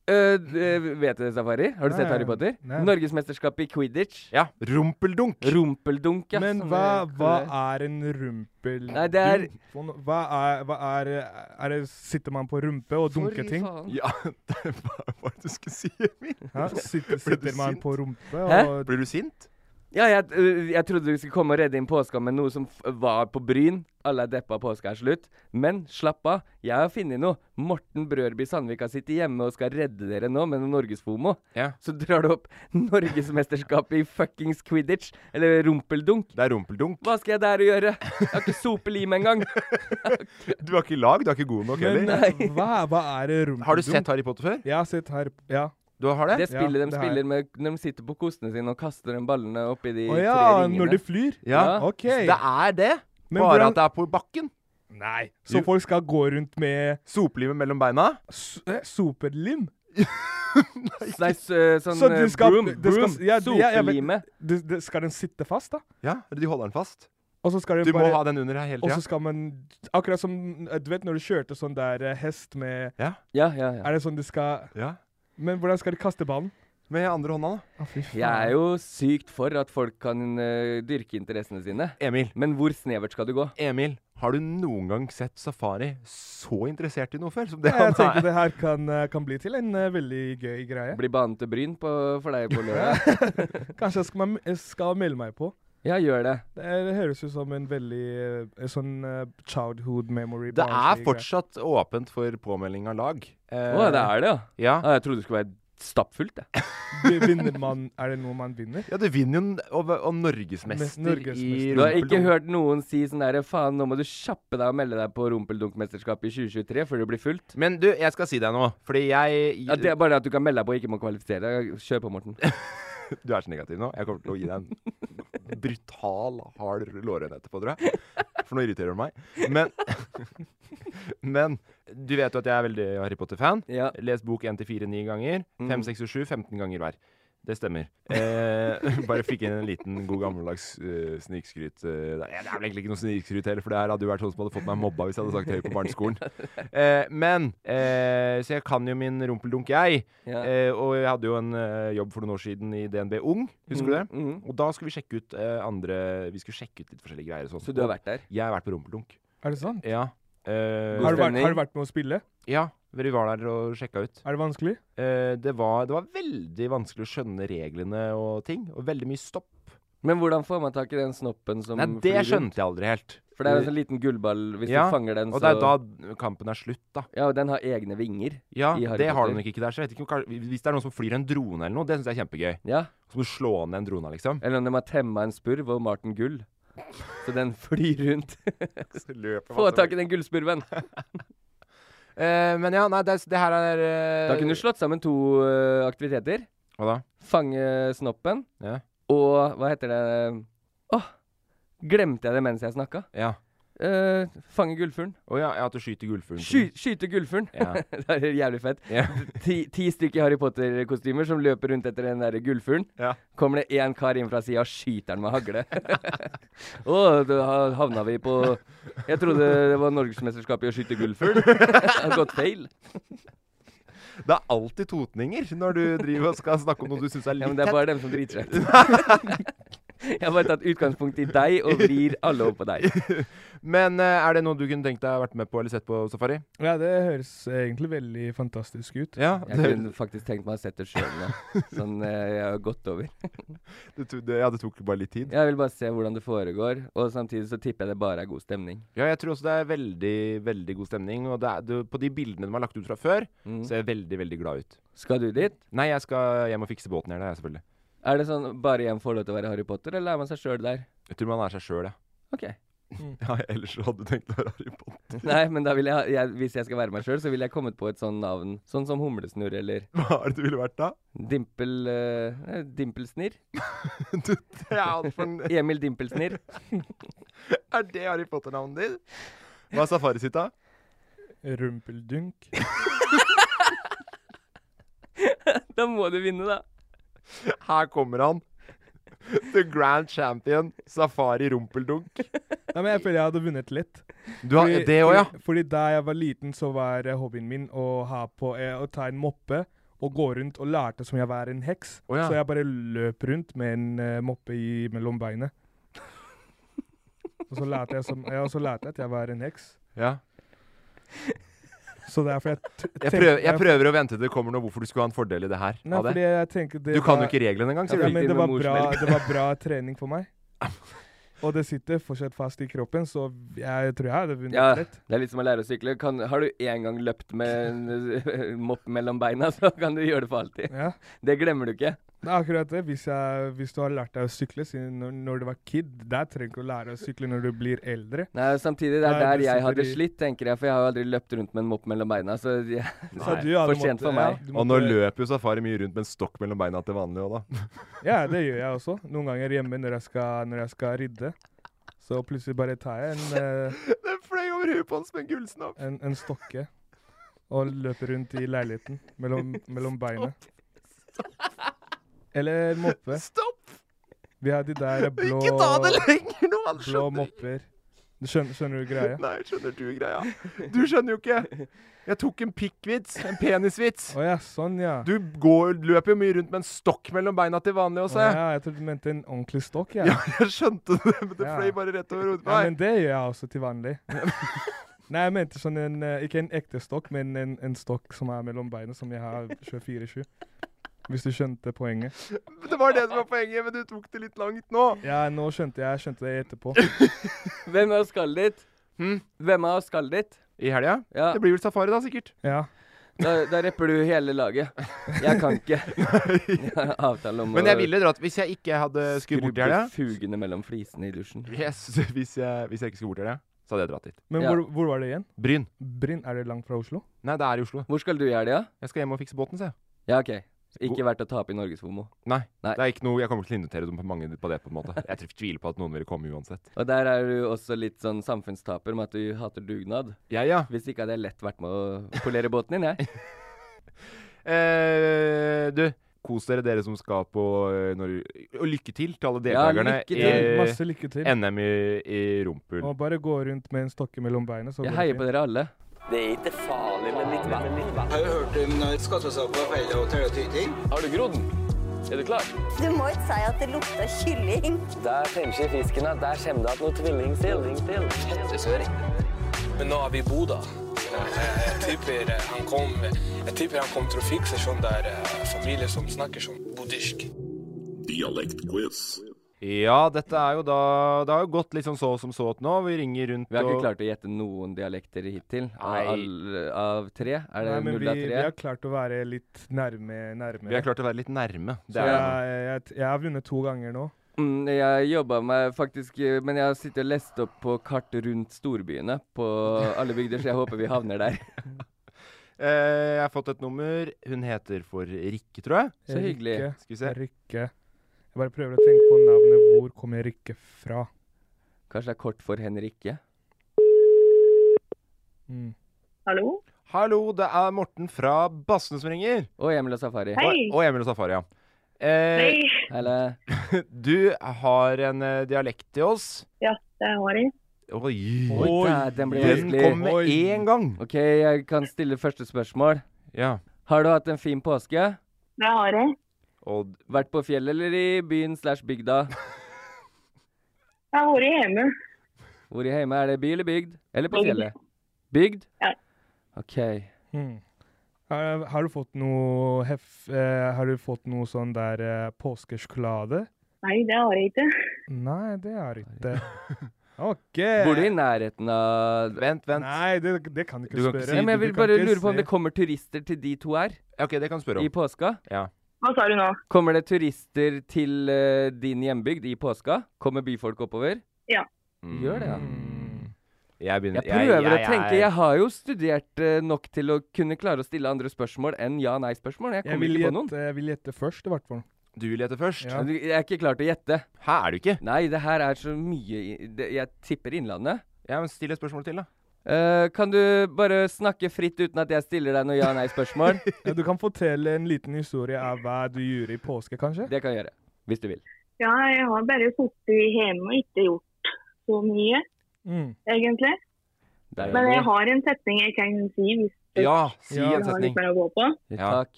Speaker 5: Øh, øh, vet du det, Safari? Har du
Speaker 6: Nei,
Speaker 5: sett Harry Potter?
Speaker 6: nei.
Speaker 5: Norgesmesterskap i quidditch.
Speaker 4: Ja, rumpeldunk.
Speaker 5: Rumpeldunk, ja.
Speaker 6: Men
Speaker 5: som
Speaker 6: hva,
Speaker 5: vi
Speaker 6: hva
Speaker 5: kaller det.
Speaker 6: er en rumpel...
Speaker 5: Nei, det er-
Speaker 6: Hva er, hva er, er det, Sitter man på rumpe og dunker
Speaker 5: Sorry,
Speaker 6: ting?
Speaker 5: faen.
Speaker 4: Ja, det var hva var det du skulle si, Emil?
Speaker 6: Hæ?
Speaker 4: Ble
Speaker 6: Sitter,
Speaker 4: du
Speaker 6: sitter man
Speaker 4: sint?
Speaker 6: på rumpe
Speaker 5: Hæ?
Speaker 6: og
Speaker 4: Blir du sint?
Speaker 5: Ja, jeg, øh, jeg trodde vi skulle komme og redde inn påska med noe som f var på Bryn. Alle er deppa, påska er slutt. Men slapp av, jeg har funnet noe. Morten Brørby Sandvika sitter hjemme og skal redde dere nå med noe norgesfomo.
Speaker 4: Ja.
Speaker 5: Så drar du opp norgesmesterskapet i fuckings quidditch, eller rumpeldunk.
Speaker 4: Det er rumpeldunk.
Speaker 5: Hva skal jeg der og gjøre? Jeg har ikke sopelim engang.
Speaker 4: Du har ikke lag, du er ikke god nok
Speaker 6: Men
Speaker 4: heller.
Speaker 6: eh, hva, hva er det rumpel...
Speaker 4: Har du sett Harry Potter før?
Speaker 6: Jeg har sett her... Ja.
Speaker 4: Du har det?
Speaker 5: Det spillet de
Speaker 6: det har jeg.
Speaker 5: spiller med når de sitter på kostene sine og kaster de ballene oppi de
Speaker 6: Å
Speaker 5: tre
Speaker 6: ja,
Speaker 5: ringene.
Speaker 6: når de flyr?
Speaker 4: Ja.
Speaker 6: OK.
Speaker 4: Det er det.
Speaker 6: Men
Speaker 4: Bare
Speaker 6: hvordan-
Speaker 4: at det er på bakken.
Speaker 6: Nei. Så folk skal gå rundt med
Speaker 4: Soplimet mellom beina.
Speaker 6: s- eh, superlim?
Speaker 5: Nei, så- sånn
Speaker 6: Så de
Speaker 5: eh,
Speaker 6: skal-
Speaker 5: broom,
Speaker 6: de skal-
Speaker 5: broom,
Speaker 6: ja, de- ja, jeg vet-
Speaker 5: sopelime.
Speaker 6: Det, det, skal den sitte fast, da?
Speaker 4: Ja, eller de holder den fast.
Speaker 6: Og så skal den
Speaker 4: Du må
Speaker 6: bare
Speaker 4: ha den under her hele
Speaker 6: Og så
Speaker 4: tida.
Speaker 6: skal man Akkurat som eh, Du vet når du kjørte sånn der eh, hest med
Speaker 4: Ja,
Speaker 5: Ja, ja, ja.
Speaker 6: Er det sånn de skal
Speaker 4: ja.
Speaker 6: Men hvordan skal de kaste ballen?
Speaker 4: Med andre hånda, da.
Speaker 5: Jeg er jo sykt for at folk kan eh, dyrke interessene sine.
Speaker 4: Emil.
Speaker 5: Men hvor snevert skal du gå?
Speaker 4: Emil, har du noen gang sett Safari så interessert i noe før? Som det
Speaker 6: Jeg
Speaker 4: han
Speaker 6: tenker
Speaker 4: er?
Speaker 6: det her kan, eh, kan bli til en eh, veldig gøy greie.
Speaker 5: Blir banen til Bryn på, for deg på lørdag?
Speaker 6: Kanskje jeg skal, man- jeg skal melde meg på.
Speaker 5: Ja, gjør det.
Speaker 6: Det, er, det høres ut som en veldig eh, sånn eh, childhood memory.
Speaker 4: Det er
Speaker 6: barnslig greie.
Speaker 4: fortsatt åpent for påmelding av lag. Eh,
Speaker 5: Å, det er det, ja.
Speaker 4: Ja.
Speaker 6: Eh.
Speaker 5: Ah, jeg trodde det skulle være stappfullt, jeg.
Speaker 6: Vi- Vinner man Er det noe man vinner?
Speaker 4: ja, du vinner jo n- og, og norgesmester,
Speaker 6: Mes- norgesmester.
Speaker 4: i
Speaker 5: Du har ikke
Speaker 4: rumpeldunk.
Speaker 5: hørt noen si sånn derre faen, nå må du kjappe deg og melde deg på Rumpeldunkmesterskapet i 2023 før det blir fullt.
Speaker 4: Men du, jeg skal si deg noe, fordi jeg
Speaker 5: Ja, det er bare at du kan melde deg på og ikke må kvalifisere deg. Kjør på, Morten.
Speaker 4: Du er så negativ nå. Jeg kommer til å gi deg en brutal, hard lårhøne etterpå, tror jeg. For nå irriterer du meg. Men, men du vet jo at jeg er veldig Harry Potter-fan.
Speaker 5: Ja. Mm.
Speaker 4: Les bok 1-4 9 ganger. 5, 6 og 7 15 ganger hver. Det stemmer. Eh, bare fikk inn en liten god gammeldags eh, snikskryt. eh, der. Ja, det er vel egentlig ikke noe snikskryt heller, for det her hadde jo vært sånn som hadde fått meg mobba hvis jeg hadde sagt høy på barneskolen. Eh, men eh, Så jeg kan jo min rumpeldunk, jeg.
Speaker 5: Ja.
Speaker 4: Eh, og jeg hadde jo en eh, jobb for noen år siden i DNB Ung, husker du det?
Speaker 5: Mm, mhm.
Speaker 4: Og da skulle vi sjekke ut eh, andre Vi skulle sjekke ut litt forskjellige greier. og Sånt.
Speaker 5: Så du har vært der?
Speaker 4: Jeg har vært på rumpeldunk.
Speaker 6: Er det sant?
Speaker 4: Ja. Eh,
Speaker 6: Har du, vært, har du vært med å spille?
Speaker 4: Ja. Vi var der og sjekka ut.
Speaker 6: Er det vanskelig?
Speaker 4: Eh, det, var, det var veldig vanskelig å skjønne reglene og ting, og veldig mye stopp.
Speaker 5: Men hvordan får man tak i den snoppen som
Speaker 4: Nei, det skjønte jeg aldri helt.
Speaker 5: For det er jo en sånn liten gullball. Hvis
Speaker 4: Ja,
Speaker 5: du fanger den,
Speaker 4: Og det er da kampen er slutt, da.
Speaker 5: Ja, og den har egne vinger.
Speaker 4: Ja,
Speaker 5: i Harry
Speaker 4: det har
Speaker 5: Potter.
Speaker 4: du nok ikke der. Så jeg vet ikke om, kanskje- hvis det er noen som flyr en drone eller noe, det syns jeg er kjempegøy.
Speaker 5: Ja.
Speaker 4: Så må du slå ned en drone, liksom.
Speaker 5: Eller om de har temma en spurv og malt den gull. Så den flyr rundt. Få tak i den gullspurven!
Speaker 4: Eh, men ja, nei, det, er- det her er eh,
Speaker 5: Da kunne du slått sammen to eh, aktiviteter.
Speaker 4: Hva da?
Speaker 5: Fange snoppen,
Speaker 4: Ja.
Speaker 5: og hva heter det Åh! glemte jeg det mens jeg snakka?
Speaker 4: ja.
Speaker 5: Eh, fange gullfuglen.
Speaker 4: Å ja, ja, at du skyter gullfuglen.
Speaker 5: Sky, skyte gullfuglen!
Speaker 4: Ja.
Speaker 5: det er jævlig fett.
Speaker 4: Ja.
Speaker 5: Ti, ti stykker Harry Potter-kostymer som løper rundt etter den der gullfuglen.
Speaker 4: Ja.
Speaker 5: Kommer det én kar inn fra sida og skyter han med hagle. Å, da ha- havna vi på Jeg trodde det var norgesmesterskapet i å skyte gullfugl. Har gått feil.
Speaker 4: Det er alltid totninger når du driver og skal snakke om noe du syns er litt
Speaker 5: Ja, men det er bare dem som driter seg ut. Jeg har bare tatt utgangspunkt i deg og vrir alle over på deg.
Speaker 4: Men eh, er det noe du kunne tenkt deg å vært med på eller sett på safari?
Speaker 6: Ja, det høres egentlig veldig fantastisk ut.
Speaker 4: Ja,
Speaker 5: Jeg kunne faktisk tenkt meg å sette det sjøl nå. Sånn eh, jeg har gått over.
Speaker 4: det, to- det, ja, det tok bare litt tid.
Speaker 5: Jeg vil bare se hvordan det foregår, og samtidig så tipper jeg det bare er god stemning.
Speaker 4: Ja, jeg tror også det er veldig, veldig god stemning. Og det er, det, på de bildene de har lagt ut fra før,
Speaker 5: Mm.
Speaker 4: ser jeg veldig, veldig glad ut.
Speaker 5: Skal du dit?
Speaker 4: Nei, jeg skal hjem og fikse båten her, da, jeg selvfølgelig.
Speaker 5: Er det sånn bare igjen får lov til å være Harry Potter, eller er man seg sjøl der?
Speaker 4: Jeg tror man er seg sjøl, ja.
Speaker 5: OK.
Speaker 4: ja. Ellers så hadde du tenkt å være Harry Potter.
Speaker 5: Nei, men da vil jeg, ha- jeg hvis jeg skal være meg sjøl, så vil jeg kommet på et sånn navn. Sånn som Humlesnurr eller
Speaker 4: Hva er det du ville vært da?
Speaker 5: Dimpel... eh, Dimpelsnirr.
Speaker 4: Du, det er, alt for en-
Speaker 5: Emil Dimpelsnirr.
Speaker 4: er det Harry Potter-navnet ditt? Hva er safari sitt, da?
Speaker 6: Rumpeldunk.
Speaker 5: Da må du vinne, da.
Speaker 4: Her kommer han. The grand champion, safari rumpeldunk.
Speaker 6: Nei, men jeg føler jeg hadde vunnet litt.
Speaker 4: Du har,
Speaker 6: Fordi-
Speaker 4: det òg, ja.
Speaker 6: fordi- Fordi da jeg var liten, så var eh, hobbyen min å, ha på, eh, å ta en moppe og gå rundt og lærte som jeg var en heks.
Speaker 4: Å ja.
Speaker 6: Så jeg bare løp rundt med en eh, moppe i, mellom beinet. og, så lærte jeg som, ja, og så lærte jeg at jeg var en heks.
Speaker 4: ja.
Speaker 6: Så derfor jeg t-
Speaker 4: Jeg,
Speaker 6: tenk-
Speaker 4: prøver, jeg prøver å vente til det kommer noe hvorfor du skulle ha en fordel i det her.
Speaker 6: Nei,
Speaker 4: av det.
Speaker 6: fordi jeg tenker det
Speaker 4: Du kan jo
Speaker 6: var-
Speaker 4: ikke reglene engang, sier
Speaker 6: ja,
Speaker 4: du.
Speaker 6: men
Speaker 5: Fikk
Speaker 6: det
Speaker 5: det
Speaker 6: var,
Speaker 5: med
Speaker 6: bra,
Speaker 5: morsmelk.
Speaker 6: det var bra trening for meg. Og det sitter fortsatt fast i kroppen, så jeg tror jeg hadde vunnet
Speaker 5: Ja,
Speaker 6: litt.
Speaker 5: det er litt som å lære å sykle. Kan, har du en gang løpt med en eh, mopp mellom beina, så kan du gjøre det for alltid.
Speaker 6: Ja.
Speaker 5: Det glemmer du ikke.
Speaker 6: Det er akkurat det. Hvis, jeg, hvis du har lært deg å sykle siden når, når du var kid, der trenger du ikke å lære å sykle når du blir eldre.
Speaker 5: Nei, Samtidig, det er
Speaker 6: Nei,
Speaker 5: der
Speaker 6: det
Speaker 5: jeg hadde
Speaker 6: sitter i-
Speaker 5: slitt, tenker jeg, for jeg har jo aldri løpt rundt med en mopp mellom beina, så jeg,
Speaker 6: Så
Speaker 5: Nei,
Speaker 6: du hadde
Speaker 5: for sent
Speaker 6: måttet-
Speaker 5: for meg.
Speaker 6: Ja, du
Speaker 4: Og nå
Speaker 6: måtte-
Speaker 4: løper jo safari mye rundt med en stokk mellom beina til vanlig òg, da.
Speaker 6: Ja, det gjør jeg også. Noen ganger hjemme når jeg skal, når jeg skal rydde. Så plutselig bare tar jeg en, eh,
Speaker 4: Den fløy over huet på hans med en gullsnopp.
Speaker 6: en, en stokke og løper rundt i leiligheten mellom, mellom beina. Eller moppe.
Speaker 4: Stopp!
Speaker 6: Vi har de der blå,
Speaker 4: Ikke ta det lenger nå! Han
Speaker 6: blå
Speaker 4: skjønner
Speaker 6: mopper. Du skjønner, skjønner du greia?
Speaker 4: Nei, skjønner du greia? Du skjønner jo ikke. Jeg tok en pikkvits. En penisvits.
Speaker 6: Å ja, sånn ja.
Speaker 4: Du går, løper jo mye rundt med en stokk mellom beina til vanlig
Speaker 6: Å
Speaker 4: også. jeg.
Speaker 6: ja, jeg trodde du mente en ordentlig stokk, jeg.
Speaker 4: Ja, jeg skjønte det, men det
Speaker 6: Ja.
Speaker 4: fløy bare rett over hodet på
Speaker 6: Ja,
Speaker 4: meg.
Speaker 6: men det gjør jeg også til vanlig. Nei, jeg mente sånn en, eh, ikke en ekte stokk, men en, en stokk som er mellom beina, som jeg har 24-7. Hvis du skjønte poenget.
Speaker 4: Det var det som var poenget, men du tok det litt langt nå.
Speaker 6: Ja, nå skjønte jeg. Jeg skjønte det etterpå.
Speaker 5: Hvem av oss skal dit?
Speaker 6: Hm?
Speaker 5: Hvem av oss skal dit?
Speaker 4: I helga?
Speaker 5: Ja,
Speaker 4: Det blir vel safari, da, sikkert.
Speaker 6: Ja.
Speaker 5: da, da repper du hele laget. Jeg kan ikke. Jeg har avtale om
Speaker 4: Men
Speaker 5: å
Speaker 4: jeg ville dratt hvis jeg ikke hadde skulle bort i helga.
Speaker 5: skrubbe fugene mellom flisene i dusjen.
Speaker 4: Yes, hvis jeg, hvis jeg ikke skulle bort i helga, så hadde jeg dratt dit.
Speaker 6: Men
Speaker 5: Ja.
Speaker 6: hvor, hvor var det igjen?
Speaker 4: Bryn.
Speaker 6: Brinn, er det langt fra Oslo?
Speaker 4: Nei, det er i Oslo.
Speaker 5: Hvor skal du i helga?
Speaker 4: Jeg skal hjem og fikse båten, se.
Speaker 5: Ja, OK. Ikke verdt å tape i Norgesfomo.
Speaker 4: Nei.
Speaker 5: Nei.
Speaker 4: Det er ikke noe, jeg kommer ikke til å invitere dem på mange på det, på en måte. Jeg tror- tviler på at noen ville komme uansett.
Speaker 5: Og der er du også litt sånn samfunnstaper med at du hater dugnad.
Speaker 4: Jeg, ja.
Speaker 5: Hvis ikke hadde jeg lett vært med å polere båten din, jeg.
Speaker 4: Eh, du, Kos dere, dere som skal på eh, Norge. Og lykke til til alle
Speaker 6: Ja,
Speaker 4: deltakerne
Speaker 6: lykke
Speaker 5: Eh,
Speaker 6: til. Masse lykke til.
Speaker 4: NM i, i rumpel.
Speaker 6: Og bare gå rundt med en stokke mellom beina. Så
Speaker 5: Jeg
Speaker 6: går det
Speaker 5: heier
Speaker 6: fint.
Speaker 5: på dere alle.
Speaker 10: Det er ikke farlig, men litt vann. Har du hørt om når skattesaker og feil og tøyetyting? Har du grodd? Er du klar?
Speaker 11: Du må ikke si at det lukter kylling.
Speaker 10: Der fremskjer fisken at der kommer det at noe tvilling til. Kjentesøring.
Speaker 12: Men nå er vi i Bodø. Eh, Jeg tipper eh, han kom Jeg tipper han kom til å fikse sånn der eh, familie som snakker sånn buddhisk. Dialektquiz.
Speaker 4: Ja, dette er jo da Det har jo gått litt sånn så som så til nå. Vi ringer rundt
Speaker 5: Vi har ikke
Speaker 4: og
Speaker 5: klart å gjette noen dialekter hittil.
Speaker 4: Nei.
Speaker 5: Av, all- av tre? Er det
Speaker 6: Nei, men
Speaker 5: null
Speaker 6: vi,
Speaker 5: av
Speaker 6: vi
Speaker 5: tre?
Speaker 6: har klart å være litt nærme. nærme.
Speaker 4: Vi har klart å være litt nærme.
Speaker 6: Så jeg, jeg, jeg har vunnet to ganger nå.
Speaker 5: Mm, jeg jobba meg faktisk eh, Men jeg har sittet og lest opp på kart rundt storbyene på alle bygder, så jeg håper vi havner der.
Speaker 4: Eh, jeg har fått et nummer. Hun heter for Rikke, tror jeg.
Speaker 6: Så hyggelig. Rikke.
Speaker 4: Skal vi se.
Speaker 6: Rikke. Jeg bare prøver å tenke på navnet. Hvor kommer Rikke fra?
Speaker 5: Kanskje det er kort for Henrikke?
Speaker 13: Hallo?
Speaker 4: Hallo, det er Morten fra Bassene som ringer.
Speaker 5: Og Emil og Safari.
Speaker 13: Hei.
Speaker 4: Og, og Emil og Safari, ja. Eh, du har en eh, dialekt til oss.
Speaker 13: Ja, det har jeg.
Speaker 4: Oi,
Speaker 5: Oi, den blir
Speaker 4: den
Speaker 5: vanskelig.
Speaker 4: kom med én gang.
Speaker 5: OK, jeg kan stille første spørsmål.
Speaker 4: Ja.
Speaker 5: Har du hatt en fin påske?
Speaker 13: Det har jeg.
Speaker 5: Vært på fjellet eller i byen slash bygda?
Speaker 13: Jeg har vært hjemme.
Speaker 5: Hvor i hjemme? Er det by eller bygd? Eller på
Speaker 13: Bygd.
Speaker 5: fjellet? Bygd?
Speaker 13: Ja.
Speaker 5: OK.
Speaker 6: Hmm. Har, har du fått noe hef, eh, Har du fått noe sånn der eh, påskesjokolade?
Speaker 13: Nei, det har jeg ikke.
Speaker 6: Nei, det har jeg ikke. OK.
Speaker 5: Bor du i nærheten av
Speaker 4: Vent, vent.
Speaker 6: Nei, det, det kan du ikke spørre.
Speaker 5: ja, men jeg vil
Speaker 6: Du kan
Speaker 5: bare
Speaker 6: ikke
Speaker 5: lure på om
Speaker 6: si.
Speaker 5: det kommer turister til de to her?
Speaker 4: Ok, det kan spørre om.
Speaker 5: I påska?
Speaker 4: Ja.
Speaker 13: Hva sa du nå?
Speaker 5: Kommer det turister til eh, din hjembygd i påska? Kommer byfolk oppover?
Speaker 13: Ja.
Speaker 5: Gjør det, ja.
Speaker 4: Mm.
Speaker 6: Mm.
Speaker 4: Jeg, begynner,
Speaker 5: Jeg prøver
Speaker 4: jeg-
Speaker 5: å tenke.
Speaker 4: er-
Speaker 5: Jeg har jo studert eh, nok til å kunne klare å stille andre spørsmål enn ja-nei-spørsmål. Jeg
Speaker 6: Jeg
Speaker 5: kommer
Speaker 6: vil,
Speaker 5: ikke på noen.
Speaker 6: gjette, jeg vil gjette først, i hvert fall.
Speaker 4: Du vil gjette først?
Speaker 6: Ja.
Speaker 5: Du- Jeg er ikke klar til å gjette.
Speaker 4: Her er du ikke.
Speaker 5: Nei, det her er så mye i- det, Jeg tipper Innlandet. Eh,
Speaker 4: Ja, men Still et spørsmål til, da.
Speaker 5: kan du bare snakke fritt uten at jeg stiller deg noe ja-nei-spørsmål?
Speaker 6: Ja, du kan fortelle en liten historie av hva du gjorde i påske, kanskje?
Speaker 5: Det kan jeg gjøre, hvis du vil.
Speaker 13: Ja, jeg har bare sittet hjemme og ikke gjort så mye,
Speaker 6: Mm.
Speaker 13: egentlig.
Speaker 5: Der
Speaker 13: Men jeg har en setning jeg kan si hvis
Speaker 4: Ja, si
Speaker 13: du
Speaker 4: en
Speaker 13: har
Speaker 4: setning.
Speaker 13: litt mer å gå på.
Speaker 5: Takk.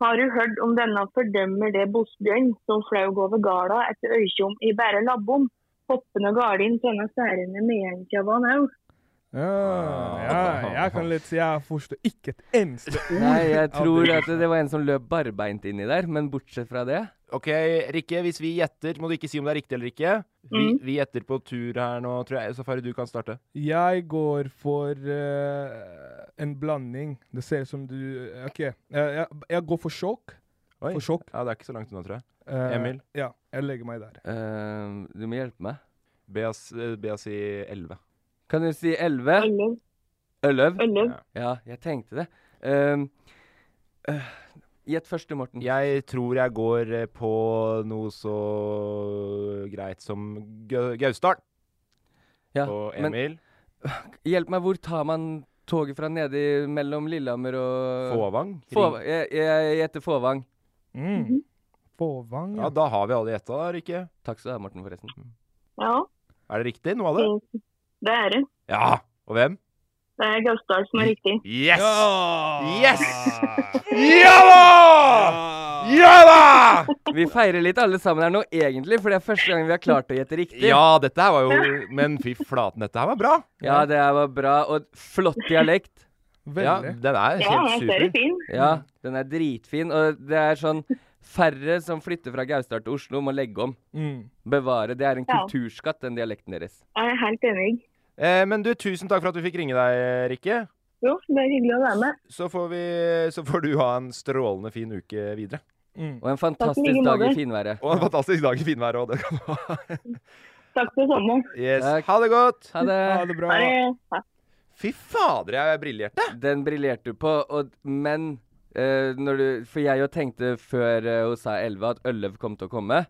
Speaker 13: Har du hørt om denne fordømmer det bosbjørn som flaug over garda etter øykjom i bare labbom? Hoppende gardin kjenner særende medenkjava nå.
Speaker 6: Ja, ja, jeg kan litt si jeg forstår ikke et eneste ord.
Speaker 5: Nei, jeg
Speaker 6: av
Speaker 5: tror
Speaker 6: det.
Speaker 5: at det var en som løp barbeint inni der, men bortsett fra det
Speaker 4: OK, Rikke, hvis vi gjetter, må du ikke si om det er riktig eller ikke. Vi,
Speaker 13: Mm.
Speaker 4: vi gjetter på tur her nå, tror jeg. Safari, du kan starte.
Speaker 6: Jeg går for eh, en blanding. Det ser ut som du eh, OK. Jeg, jeg, jeg går for sjokk.
Speaker 4: Oi.
Speaker 6: For sjokk.
Speaker 4: Ja, det er ikke så langt unna, tror jeg.
Speaker 6: Eh,
Speaker 4: Emil?
Speaker 6: Ja. Jeg legger meg der.
Speaker 5: ehm, Du må hjelpe meg.
Speaker 4: Be oss, eh, be oss si 11.
Speaker 5: Kan du si 11?
Speaker 13: Elleve.
Speaker 5: Elleve?
Speaker 13: Elleve.
Speaker 5: Ja, jeg tenkte det. Ehm, øh, Gjett første, Morten.
Speaker 4: Jeg tror jeg går eh, på noe så greit som Gau- Gausdal.
Speaker 5: Ja,
Speaker 4: og
Speaker 5: men-
Speaker 4: Emil.
Speaker 5: Hjelp meg, hvor tar man toget fra nedi mellom Lillehammer
Speaker 4: Øh,
Speaker 5: og
Speaker 4: Fåvang?
Speaker 5: Fåva- Jeg jeg gjetter Fåvang.
Speaker 6: Mm. Fåvang,
Speaker 4: Ja, da har vi alle gjetta, da, Rikke.
Speaker 5: Takk skal du ha, Morten, forresten.
Speaker 13: Ja,
Speaker 4: Er det riktig, noe av det?
Speaker 13: det er det.
Speaker 4: Ja. Og hvem?
Speaker 13: Det er Gausdal som er riktig.
Speaker 4: Yes! Yes! ja da! Ja da!
Speaker 5: Vi feirer litt alle sammen her nå, egentlig, for det er første gang vi har klart å gjette riktig.
Speaker 4: Ja, dette her var jo Men fy flaten, dette her var bra.
Speaker 5: Ja, det her var bra, og flott dialekt.
Speaker 4: Ja, den er
Speaker 13: Ja,
Speaker 4: helt
Speaker 13: jeg ser det
Speaker 4: super.
Speaker 13: fin.
Speaker 5: Ja, den er dritfin, og det er sånn Færre som flytter fra Gausdal til Oslo, må legge om.
Speaker 6: Mm.
Speaker 5: Bevare. Det er en
Speaker 13: Ja.
Speaker 5: kulturskatt, den dialekten deres.
Speaker 13: Jeg er helt enig.
Speaker 4: Eh, men du, tusen takk for at du fikk ringe deg, Rikke.
Speaker 13: Jo, det er hyggelig å være med.
Speaker 4: Så får, vi, så får du ha en strålende fin uke videre.
Speaker 5: Og en
Speaker 13: Takk i
Speaker 5: fantastisk
Speaker 13: like
Speaker 5: dag i
Speaker 13: måte.
Speaker 5: finværet.
Speaker 4: Og en fantastisk dag i finværet òg, det kan du ha.
Speaker 13: Takk for sommeren.
Speaker 4: Yes. Ha det godt.
Speaker 5: Ha det.
Speaker 13: Ha det. Ha.
Speaker 4: Fy fader, jeg briljerte.
Speaker 5: Den briljerte du på, og, men eh, når du For jeg jo tenkte før eh, hun sa 11 at Ølløv kom til å komme.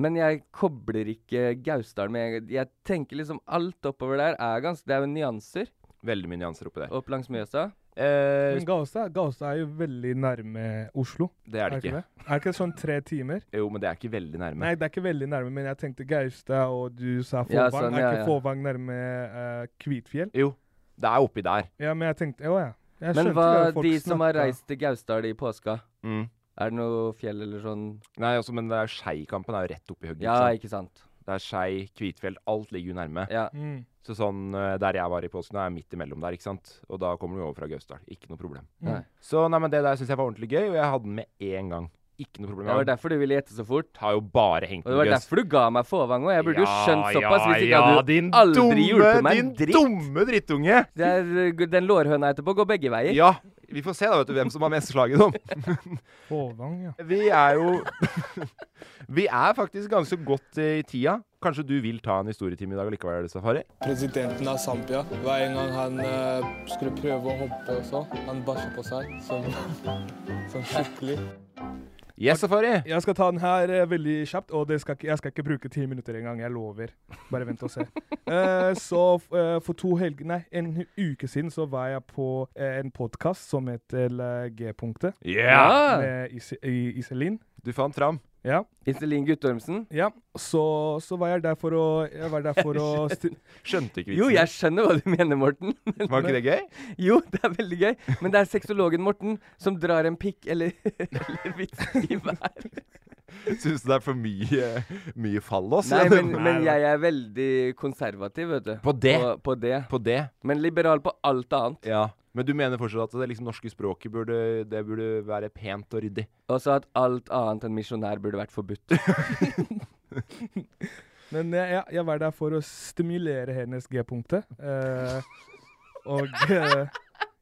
Speaker 5: Men jeg kobler ikke Gausdal med Jeg tenker liksom alt oppover der er ganske Det er jo nyanser.
Speaker 4: Veldig mye nyanser oppi der.
Speaker 5: Opp langs Mjøsa?
Speaker 4: Eh,
Speaker 6: Men Gaustad Gaustad er jo veldig nærme Oslo.
Speaker 4: Det er det ikke.
Speaker 6: det? Er det ikke sånn tre timer?
Speaker 4: jo, men det er ikke veldig nærme.
Speaker 6: Nei, det er ikke veldig nærme, men jeg tenkte Gaustad, og du sa Fåvang.
Speaker 4: Ja, sånn, ja,
Speaker 6: er ikke
Speaker 4: ja.
Speaker 6: Fåvang nærme eh, Kvitfjell?
Speaker 4: Jo, det er oppi der.
Speaker 6: Ja, men jeg tenkte Å ja. Jeg
Speaker 5: Men
Speaker 6: skjønte
Speaker 5: hva
Speaker 6: det, folk
Speaker 5: de som har
Speaker 6: snakket.
Speaker 5: reist til Gausdal i påska?
Speaker 4: Mm.
Speaker 5: Er det noe fjell eller sånn
Speaker 4: Nei, altså, men det er Skeikampen er jo rett oppi hugget.
Speaker 5: Ja, ikke sant.
Speaker 4: Det er Skei, Kvitfjell, alt ligger jo nærme.
Speaker 6: Mm.
Speaker 4: Så sånn eh, der jeg var i påsken, er jeg midt imellom der, ikke sant. Og da kommer du over fra Gausdal. Ikke noe problem.
Speaker 5: Mm. Nei.
Speaker 4: Så nei, men det der syns jeg var ordentlig gøy, og jeg hadde den med én gang. Ikke noe problem.
Speaker 5: Det var derfor du ville gjette så fort.
Speaker 4: Har jo bare hengt
Speaker 5: Og det var
Speaker 4: med gøs.
Speaker 5: derfor du ga meg Fåvang òg. Jeg burde jo
Speaker 4: Ja,
Speaker 5: skjønt såpass. Hvis ikke
Speaker 4: ja, ja,
Speaker 5: hadde
Speaker 4: din
Speaker 5: du aldri hjulpet meg
Speaker 4: dumme,
Speaker 5: en
Speaker 4: din
Speaker 5: dritt.
Speaker 4: dumme drittunge!
Speaker 5: Det er, uh, den lårhøna etterpå går begge veier.
Speaker 4: Ja. Vi får se da, vet du, hvem som har mest slaget om.
Speaker 6: Fåvang, ja.
Speaker 4: Vi er jo Vi er faktisk ganske godt eh, i tida. Kanskje du vil ta en historietime i dag likevel, Safari?
Speaker 10: Presidenten av Zambia, hver en gang han eh, skulle prøve å hoppe og så, han bæsja på seg som, som skikkelig.
Speaker 4: Yes, Safari.
Speaker 6: Jeg skal ta den her eh, veldig kjapt, og det skal ikke, jeg skal ikke bruke ti minutter engang. Jeg lover. Bare vent og se. Eh, så f- eh, for to helger Nei, en uke siden så var jeg på eh, en podkast som heter eh, G-punktet.
Speaker 4: Yeah!
Speaker 6: Med Ise- i- Iselin.
Speaker 4: Du fant fram.
Speaker 6: Ja.
Speaker 5: Iselin Guttormsen?
Speaker 6: Ja. Så, så var jeg der for å Jeg var der for å sti-
Speaker 4: Skjønte ikke vitsen.
Speaker 5: Jo, jeg skjønner hva du mener, Morten. Men-
Speaker 4: Var ikke det gøy?
Speaker 5: Jo, det er veldig gøy. Men det er sexologen Morten som drar en pikk eller, eller vits i hver.
Speaker 4: Syns du det er for mye, mye fallås?
Speaker 5: Nei, men, men jeg er veldig konservativ, vet du.
Speaker 4: På det?
Speaker 5: På, på det.
Speaker 4: På det?
Speaker 5: Men liberal på alt annet.
Speaker 4: Ja. Men du mener fortsatt at det liksom norske språket burde, det burde være pent og ryddig?
Speaker 5: Også at alt annet enn misjonær burde vært forbudt.
Speaker 6: Men jeg, jeg, jeg var der for å stimulere hennes G-punktet. eh, og eh,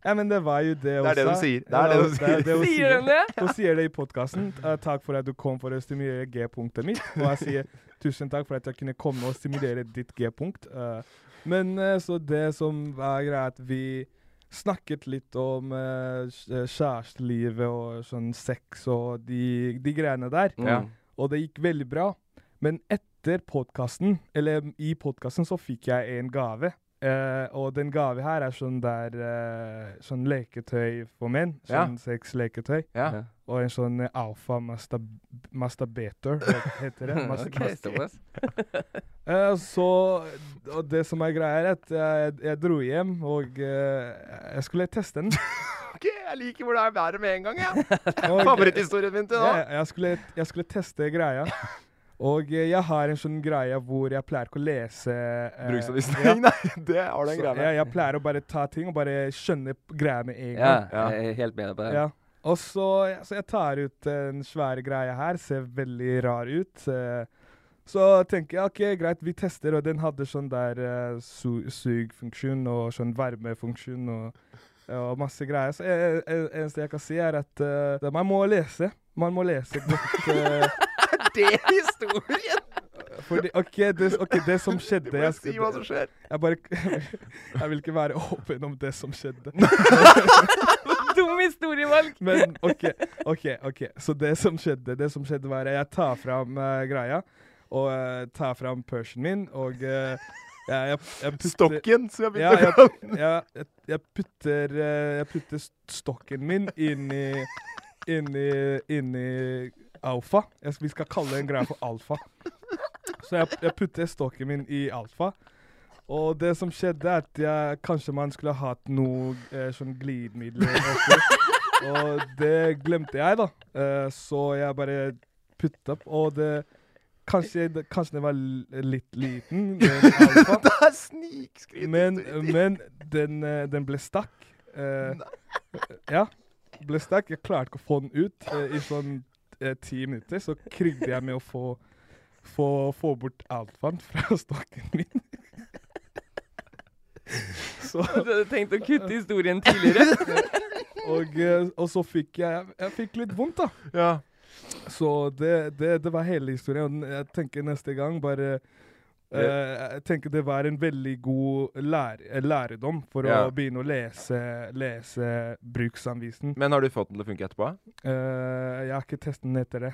Speaker 6: Ja, men det var jo
Speaker 4: Det
Speaker 6: det
Speaker 4: er
Speaker 6: også.
Speaker 4: det de sier. Det er
Speaker 6: Ja,
Speaker 4: det de sier.
Speaker 6: hun
Speaker 5: Sier de det?
Speaker 6: Hun sier det i podkasten. takk for at du kom for å stimulere G-punktet mitt. Og jeg sier tusen takk for at jeg kunne komme og stimulere ditt G-punkt. Eh, men eh, så det som var greia, er at vi snakket litt om eh, kj- eh, kjærestelivet og sånn sex og de, de greiene der.
Speaker 4: Ja.
Speaker 6: Og det gikk veldig bra. Men etter podkasten, eller mm, i podkasten, så fikk jeg en gave. Eh, og den gave her er sånn der eh, Sånn leketøy for menn.
Speaker 4: Ja.
Speaker 6: Sånn sexleketøy.
Speaker 4: Ja.
Speaker 5: Ja.
Speaker 6: Og en sånn eh, alfa mastab masturbator, hva heter det. Mas
Speaker 5: Ok, såpass.
Speaker 6: Eh, så Og det som er greia, er at jeg, jeg dro hjem, og eh, jeg skulle teste den.
Speaker 4: Ok, jeg liker hvor det er været med en gang, jeg.
Speaker 6: Og-
Speaker 4: Favoritthistorien min til nå.
Speaker 6: Ja, jeg, skulle, jeg skulle teste greia. Og eh, jeg har en sånn greie hvor jeg pleier ikke å lese eh,
Speaker 4: Bruksavisen.
Speaker 6: ja.
Speaker 4: Nei, det har du en
Speaker 6: Så
Speaker 4: greie
Speaker 6: jeg,
Speaker 4: med.
Speaker 6: jeg pleier å bare ta ting og bare skjønne p- greia med en
Speaker 5: Ja,
Speaker 6: gang.
Speaker 5: jeg er helt med deg på det.
Speaker 6: Ja. Og så, så jeg tar ut den svære greia her, ser veldig rar ut. eh, Så tenker jeg OK, greit, vi tester, og den hadde sånn der eh, su sugfunksjon og sånn varmefunksjon og, og masse greier. Så eh, eh, eneste jeg kan si, er at eh, man må lese. Man må lese godt. eh,
Speaker 4: Det er historien!
Speaker 6: fordi, OK, det, ok, det som skjedde
Speaker 4: må
Speaker 6: jeg
Speaker 4: si
Speaker 6: skal-
Speaker 4: hva som skjer.
Speaker 6: Jeg bare Jeg vil ikke være åpen om det som skjedde.
Speaker 5: Dum historievalg!
Speaker 6: Men OK, OK. ok Så det som skjedde, det som skjedde var at jeg tar fram eh, greia, og eh, tar fram pørsen min, og eh, jeg, jeg, jeg putter
Speaker 4: Stokken som jeg
Speaker 6: ja,
Speaker 4: begynte
Speaker 6: jeg, jeg, jeg, jeg putter eh, Jeg putter st- stokken min inni Inni Inni alfa. Jeg, skal- vi skal kalle en greie for alfa. Så jeg, jeg putter stokken min i alfa. Og det som skjedde, er at jeg, kanskje man skulle ha hatt noe eh, sånn glidemiddel. Også. Og det glemte jeg, da. Eh, så jeg bare putta opp, og det Kanskje, det- kanskje den var l- litt liten, den alfa.
Speaker 4: Det er snikskryt.
Speaker 6: Men, men den, eh, den ble stakk. Eh, ja, ble stakk. Jeg klarte ikke å få den ut eh, i sånn eh, ti minutter. Så krigde jeg med å få, få, få bort alfaen fra stokken min. så,
Speaker 5: Du hadde tenkt å kutte historien tidligere.
Speaker 6: og, eh, og så fikk jeg Jeg fikk litt vondt, da.
Speaker 4: Ja.
Speaker 6: Så det, det, det var hele historien. Og den- jeg tenker neste gang bare eh, Jeg tenker det var en veldig god lær, eh, læredom for
Speaker 4: Ja.
Speaker 6: å begynne å lese, lese bruksanvisen.
Speaker 4: Men har du fått den til å funke etterpå?
Speaker 6: Eh, jeg har ikke testet den etter det.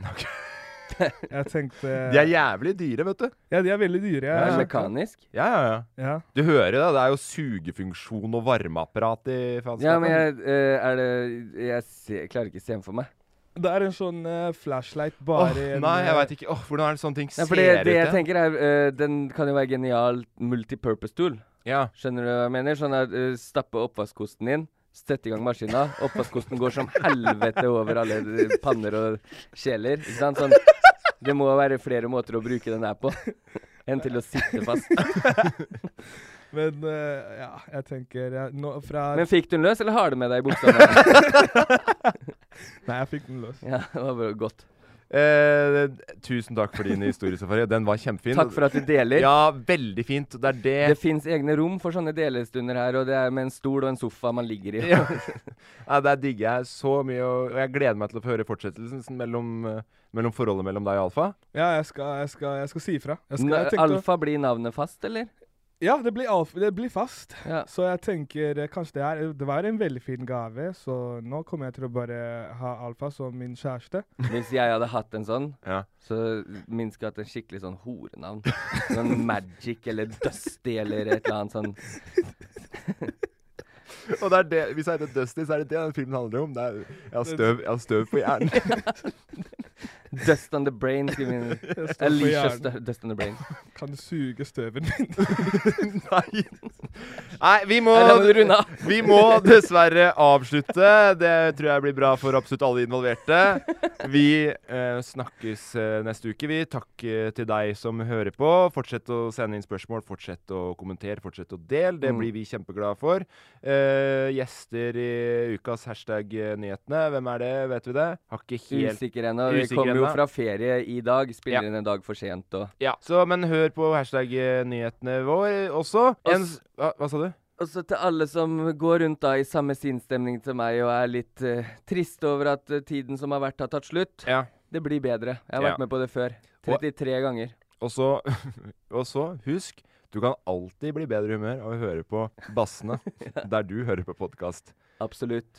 Speaker 6: Jeg tenkte
Speaker 4: De er jævlig dyre, vet du.
Speaker 6: Ja, de er veldig dyre.
Speaker 4: Det er
Speaker 6: Jeg-
Speaker 4: mekanisk. Ja, ja, ja.
Speaker 6: Ja.
Speaker 4: Du hører det. Det er jo sugefunksjon og varmeapparat i faenskapen.
Speaker 5: Ja, men jeg, eh, er det, jeg, ser, jeg klarer ikke å se den for meg.
Speaker 6: Det er en sånn eh, flashlight bare
Speaker 4: Åh,
Speaker 6: en,
Speaker 4: nei, jeg
Speaker 6: eh,
Speaker 4: vet ikke. Åh, hvordan er det sånne ting
Speaker 5: Nei,
Speaker 4: ser
Speaker 5: for det,
Speaker 4: ut?
Speaker 5: det jeg
Speaker 4: ja?
Speaker 5: tenker er eh, Den kan jo være genial multipurpose-tool. Skjønner du hva jeg mener? Sånn at eh, stappe oppvaskkosten din, støtte i gang maskina. Oppvaskkosten går som helvete over alle eh, panner og kjeler. Ikke sant? Sånn, det må være flere måter å bruke den her på enn til å sitte fast.
Speaker 6: Men eh, ja, jeg tenker ja, nå, fra
Speaker 5: Men fikk du den løs, eller har du med deg i buksa? Nei,
Speaker 6: jeg fikk den løs.
Speaker 5: Ja, det var bra- godt.
Speaker 4: Eh, tusen takk for din historiesafari. Den var kjempefin.
Speaker 5: Takk for at du deler.
Speaker 4: Ja, veldig fint. Det er det
Speaker 5: Det fins egne rom for sånne delestunder her, og det er med en stol og en sofa man ligger i.
Speaker 4: Ja. Nei, Der digger jeg så mye, og og jeg gleder meg til å få høre fortsettelsen sånn mellom, eh, mellom forholdet mellom deg og Alfa.
Speaker 6: Ja, jeg skal, jeg skal, jeg skal si ifra. Jeg skal,
Speaker 5: Nå,
Speaker 6: jeg tenkte å-
Speaker 5: alfa blir navnet fast, eller?
Speaker 6: Ja, det blir, alf, det blir fast.
Speaker 5: Ja.
Speaker 6: Så jeg tenker eh, kanskje det er Det var en veldig fin gave, så nå kommer jeg til å bare ha Alfa som min kjæreste.
Speaker 5: Hvis jeg hadde hatt en sånn,
Speaker 4: Ja.
Speaker 5: så min skulle hatt en skikkelig sånn horenavn. Sånn Magic eller Dusty eller et eller annet sånn.
Speaker 4: Og det er det, hvis jeg heter Dusty, så er det det den filmen handler om. Det er, jeg, har støv, jeg har støv på hjernen.
Speaker 5: Dust on the brain, skriver min.
Speaker 6: Jeg står på
Speaker 5: Alicia
Speaker 6: hjernen.
Speaker 5: Stu- Dust on the brain.
Speaker 6: Kan du suge støven min?
Speaker 4: Nei. Nei, vi må,
Speaker 5: Nei, da må du runde av.
Speaker 4: vi må dessverre avslutte. Det tror jeg blir bra for absolutt alle involverte. Vi eh, snakkes eh, neste uke, vi. Takk eh, til deg som hører på. Fortsett å sende inn spørsmål, fortsett å kommentere, fortsett å dele. Det
Speaker 5: Mm.
Speaker 4: blir vi kjempeglade for. Eh, gjester i ukas hashtag eh, nyhetene. Hvem er det, vet vi det? Har ikke helt
Speaker 5: Usikker ennå. Vi
Speaker 4: Usikker
Speaker 5: kommer jo
Speaker 4: ennå.
Speaker 5: fra ferie i dag. Spiller inn en dag for sent og
Speaker 4: Ja. Så, men hør på hashtag eh, nyhetene vår også. En,
Speaker 5: s-
Speaker 4: hva, hva sa du?
Speaker 5: Og så Altså, til alle som går rundt da i samme sinnsstemning til meg og er litt eh, trist over at eh, tiden som har vært, har tatt slutt. Det blir bedre. Jeg har
Speaker 4: Ja.
Speaker 5: vært med på det før.
Speaker 4: Og-
Speaker 5: 33 ganger.
Speaker 4: Og så, og så husk, du kan alltid bli i bedre humør av å høre på bassene der du hører på podkast.
Speaker 5: Absolutt.